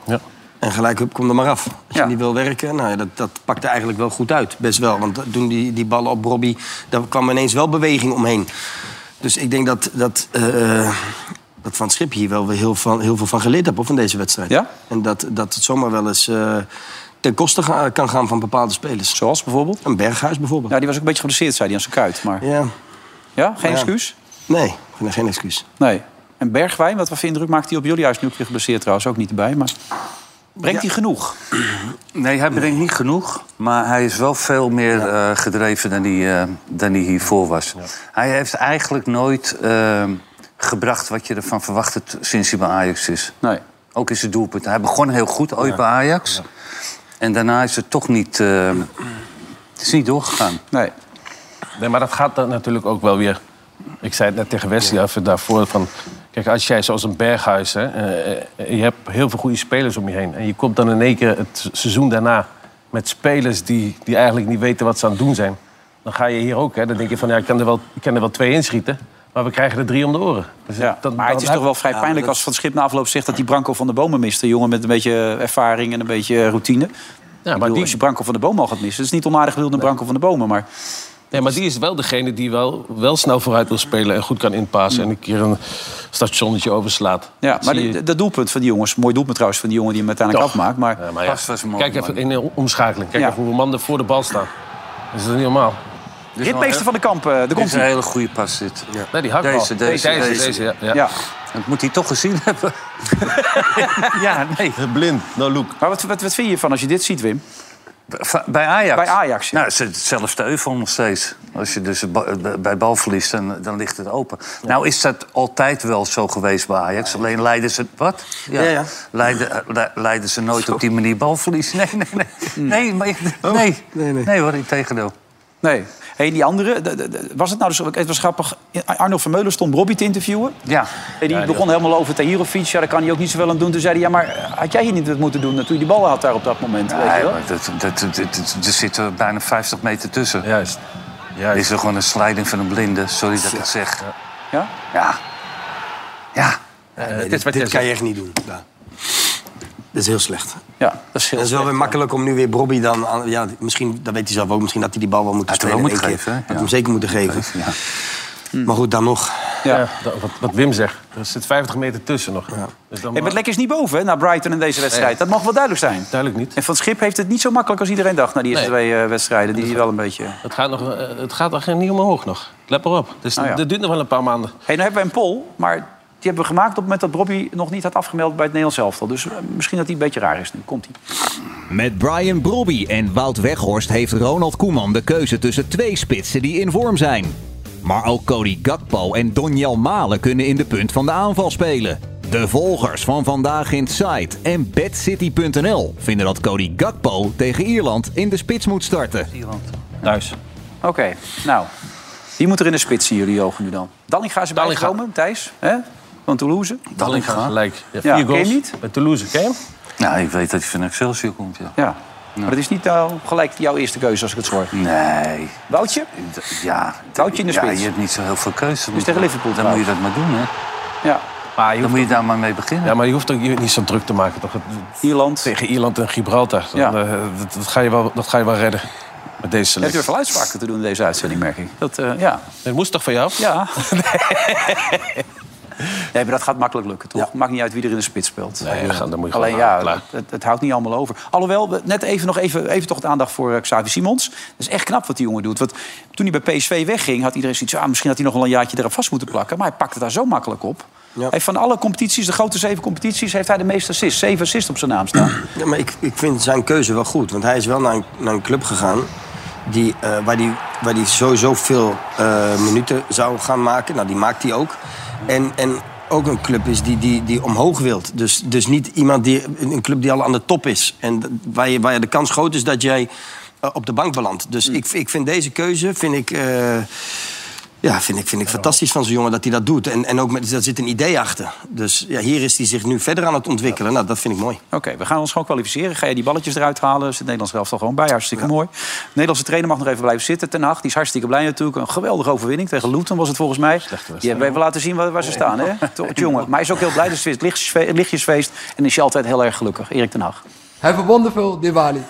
Ja.
En gelijk, hup, kom er maar af. Als je niet wil werken, nou, ja, dat, dat pakte eigenlijk wel goed uit. Best wel, want toen die, die ballen op Robbie, daar kwam ineens wel beweging omheen. Dus ik denk dat, dat, eh, dat Van Schip hier wel weer heel, van, heel veel van geleerd heeft hoor, van deze wedstrijd.
Ja?
En dat, dat het zomaar wel eens eh, ten koste ga- kan gaan van bepaalde spelers.
Zoals bijvoorbeeld?
Een berghuis bijvoorbeeld.
Ja, Nou, die was ook een beetje geblesseerd, zei hij, aan zijn kuit. Maar...
Ja.
Ja? Geen
Ja.
excuus?
Nee, geen- geen excuus.
Nee. En Bergwijn, wat voor indruk maakt hij op jullie? Hij is nu ook weer geblesseerd trouwens, ook niet erbij. Maar brengt hij genoeg?
Nee, hij brengt niet genoeg. Maar hij is wel veel meer eh, gedreven dan hij, eh, dan hij hiervoor was. Hij heeft eigenlijk nooit eh, gebracht wat je ervan verwachtte t- sinds hij bij Ajax is. Nou,
Nee.
Ook in zijn doelpunt. Hij begon heel goed ooit bij Ajax. En daarna is het toch niet, eh, het is niet doorgegaan.
Nee.
Nee, maar dat gaat dan natuurlijk ook wel weer. Ik zei het net tegen Wesley even daarvoor. Van, kijk, als jij zoals een berghuis. Hè, eh, eh, je hebt heel veel goede spelers om je heen. En je komt dan in één keer het seizoen daarna. met spelers die, die eigenlijk niet weten wat ze aan het doen zijn. Dan ga je hier ook. Hè, dan denk je van ja, ik kan er wel, ik kan er wel twee inschieten. Maar we krijgen er drie om de oren. Dus
Ja,
dan-
maar het
dan
is
heb-
toch wel vrij
Ja, maar
pijnlijk
dat-
als Van Schip na afloop zegt dat hij Branko van de Bomen mist. Een jongen met een beetje ervaring en een beetje eh, routine. Ja, maar
die-
als je Branko van de Bomen al gaat missen, dat is niet onaardig bedoeld naar Branko van de Bomen. Maar
Nee, maar die is wel degene die wel, wel snel vooruit wil spelen en goed kan inpassen. En een keer een stationnetje overslaat.
Mm. Ja, maar
Zie
de-
je-
de- dat doelpunt van die jongens, mooi doelpunt trouwens van die jongen die hem uiteindelijk afmaakt. Maar,
maar ja, Kijk even in de omschakeling. Kijk even hoeveel man er voor de bal staan. Dat is toch niet normaal?
Dit is wel Ritmeester heel- van de Kamp, eh, daar
Dit
komt
is een
ie.
hele goede pas, dit. Ja.
Nee, die hakbal.
Deze, deze,
Nee,
deze.
deze, deze, ja, ja.
Dat moet hij toch gezien [laughs] hebben.
ja, nee.
Blind, nou look.
Maar wat, wat, wat vind je ervan als je dit ziet, Wim?
Bij Ajax?
Bij Ajax,
Nou, het is hetzelfde euvel nog steeds. Als je dus ba- eh, bij bal verliest, dan, dan ligt het open. Nou is dat altijd wel zo geweest bij Ajax. Alleen leiden ze... Wat?
Ja, ja.
Leiden, eh, le- leiden ze nooit op die manier balverlies. Nee, nee, nee.
Hmm.
Nee, maar ik-
Oh,
nee. nee, hoor, in tegendeel.
Nee. Hey, die andere, de- de- de- was het nou dus... Het was grappig, Arno Vermeulen stond Robbie te interviewen.
Ja.
Hey, die
Ja, die
begon
had-
helemaal over Tahirovic, ja, daar kan hij ook niet zoveel aan doen. Toen zei hij, ja, maar had jij hier niet wat moeten doen toen je die bal had daar op dat moment? weet je
Nee,
wel?
maar dat, dat, dat, dat- er zitten bijna 50 meter tussen.
Juist.
Dit is toch gewoon een slijding van een blinde. Sorry dat ik het zeg.
Ja?
Ja.
Nee,
dit
Eh, dit
is wat jij
dit kan je
zegt.
echt niet doen. Ja. Dat is heel slecht.
Ja, dat is
heel wel weer makkelijk om nu weer Bobby dan... Aan, ja, misschien, dat weet hij zelf ook, misschien dat hij die bal wel moet
Had hij
spelen.
wel
in
moeten
één keer.
geven, hè?
Had hij
Ja.
hem zeker moeten geven. Maar goed, dan nog.
Ja. dat- wat, wat Wim zegt. Er zit 50 meter tussen nog. Dus dan
Hey, maar het lekker is niet boven, hè, na Brighton in deze wedstrijd.
Nee.
Dat mag wel duidelijk zijn.
Duidelijk niet.
En Van Schip heeft het niet zo makkelijk als iedereen dacht... na die eerste
Nee.
twee eh, wedstrijden. Die is wel een beetje...
Het gaat, nog, eh, het gaat nog niet omhoog nog. Let maar op. Dus
Ah, ja.
Dat duurt nog wel een paar maanden.
Hey, nou hebben wij een poll, maar die hebben we gemaakt op het moment dat Robbie nog niet had afgemeld bij het Nederlands elftal. Dus eh, misschien dat die een beetje raar is nu. Komt-ie.
Met Brian Brobby en Wout Weghorst heeft Ronald Koeman de keuze tussen twee spitsen die in vorm zijn. Maar ook Cody Gakpo en Donjel Malen kunnen in de punt van de aanval spelen. De volgers van Vandaag in Sight en BadCity.nl vinden dat Cody Gakpo tegen Ierland in de spits moet starten.
Thuis.
Oké, nou. Die moet er in de spits zien, jullie ogen nu dan. Dallinga is erbij gekomen, Thijs. Hè? Van Toulouse.
Dallinga.
Gelijk. Ja,
Ja,
vier
ken je
goals.
niet?
Bij Toulouse, ken je hem?
Nou, ik weet dat hij van Excelsior komt, ja.
Ja. Maar dat is niet eh, gelijk jouw eerste keuze als ik het zo hoor.
Nee.
Woutje?
Ja.
Woutje in de
Ja,
spits.
je hebt niet zo heel veel keuze.
Dus tegen Liverpool
Dan moet je dat
trouwens.
maar doen, hè.
Ja.
Dan moet je daar maar mee beginnen.
Ja, maar je hoeft ook je- niet zo druk te maken. Toch?
Ierland.
Tegen Ierland en Gibraltar. Dan, eh, dat, dat ga je wel, dat ga je wel redden. Met deze
Je hebt
selectie.
weer veel uitspraken te doen in deze uitzending, merk ik. Dat, eh, ja.
Het moest toch van jou?
Ja. [laughs] Nee, maar dat gaat makkelijk lukken, toch? Maakt niet uit wie er in de spits speelt. Eh,
Nee, dat gaat- dat moet je
Alleen
gewoon aan,
ja,
klaar.
het, het houdt niet allemaal over. Alhoewel, we- net even nog even, even toch de aandacht voor eh, Xavi Simons. Dat is echt knap wat die jongen doet. Want toen hij bij PSV wegging, had iedereen zoiets... Ah, misschien had hij nog wel een jaartje eraf vast moeten plakken. Maar hij pakt het daar zo makkelijk op. Hij heeft van alle competities, de grote zeven competities... heeft hij de meeste assists. Zeven assists op zijn naam staan.
Ja, maar ik, ik vind zijn keuze wel goed. Want hij is wel naar een, naar een club gegaan die, eh, waar hij die, waar die sowieso veel eh, minuten zou gaan maken. Nou, die maakt hij ook. En, en ook een club is die, die, die omhoog wilt. Dus, dus niet iemand die, een een club die al aan de top is. En d- waar, je, waar je de kans groot is dat jij eh, op de bank belandt. Dus ik, ik vind deze keuze, vind ik... eh, ja, vind ik, vind ik fantastisch van zo'n jongen dat hij dat doet. En, en ook met, daar zit een idee achter. Dus ja, hier is hij zich nu verder aan het ontwikkelen. Nou, dat vind ik mooi.
Oké, we gaan ons gewoon kwalificeren. Ga je die balletjes eruit halen? Zit het Nederlands elftal gewoon bij. Hartstikke mooi. De Nederlandse trainer mag nog even blijven zitten. Ten Hag, die is hartstikke blij natuurlijk. Een geweldige overwinning tegen Luton was het volgens mij. Die hebben we even laten zien waar, waar ze staan. Hè? Toch, jongen. Maar hij is ook heel blij. Dus het is lichtjesfe- lichtjesfeest. En is je altijd heel erg gelukkig. Erik ten Hag.
Have a wonderful Diwali.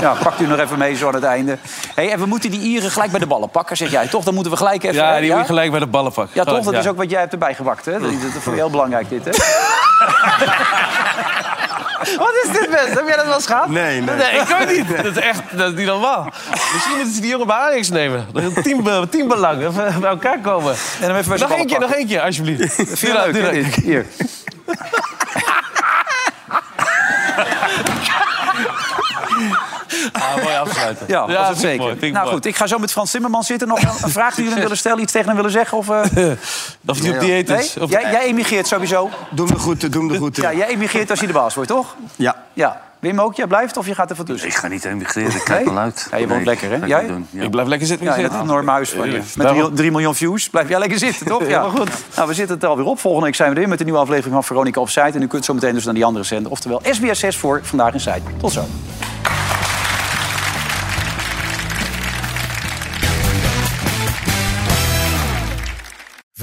Ja, pakt u nog even mee zo aan het einde. Hey, en we moeten die Ieren gelijk bij de ballen pakken, zeg jij. Toch, dan moeten we gelijk even...
Ja,
hè?
die moet je gelijk bij de ballen pakken.
Ja, toch? Dat
Oh, Ja.
is ook wat jij hebt erbij gewakt, hè? Dat, dat vond je heel belangrijk,
[laughs]
dit, hè? Wat is dit, best? Heb jij dat wel eens gehad?
Nee, ik ook niet. [laughs] Dat is echt, dat is niet normaal. Misschien moeten ze die jongen bij Ajax nemen. Dat is een Team, eh, teambelang, even bij elkaar komen.
En dan even bij z'n
nog
ballen
één keer,
pakken.
nog één keer, alsjeblieft.
Vind je leuk, hè, dit? Hier.
Ah, mooi afsluiten.
Ja, dat is het
vind ik
zeker.
mooi, vind ik
nou
mooi.
goed, ik ga zo met Frans Timmermans zitten. Nog een, een vraag die jullie willen stellen, iets tegen hem willen zeggen?
[laughs]
Of, eh,
Of die op dieet is.
Nee?
Of-
Jij, jij emigreert sowieso.
Doe hem de groeten, doe hem de groeten.
Ja, jij emigreert als je de baas wordt, toch?
Ja.
Ja. Wim ook, jij blijft of je gaat er van tussen?
Ik ga niet emigreren, ik kijk
Nee?
wel uit.
Ja, je woont
Nee,
lekker, hè?
ga ik
Jij?
niet doen, ja.
Ik blijf lekker zitten.
Ja, je hebt een enorm huis van je. Met 3
Daarom-
miljoen views blijf jij lekker zitten, toch? [laughs] Ja.
Helemaal goed.
Nou, we zitten het er alweer op. Volgende week zijn we er weer met een nieuwe aflevering van Veronica Offside. En u kunt zo meteen dus naar die andere zender. Oftewel SBS 6 voor Vandaag in Site. Tot zo.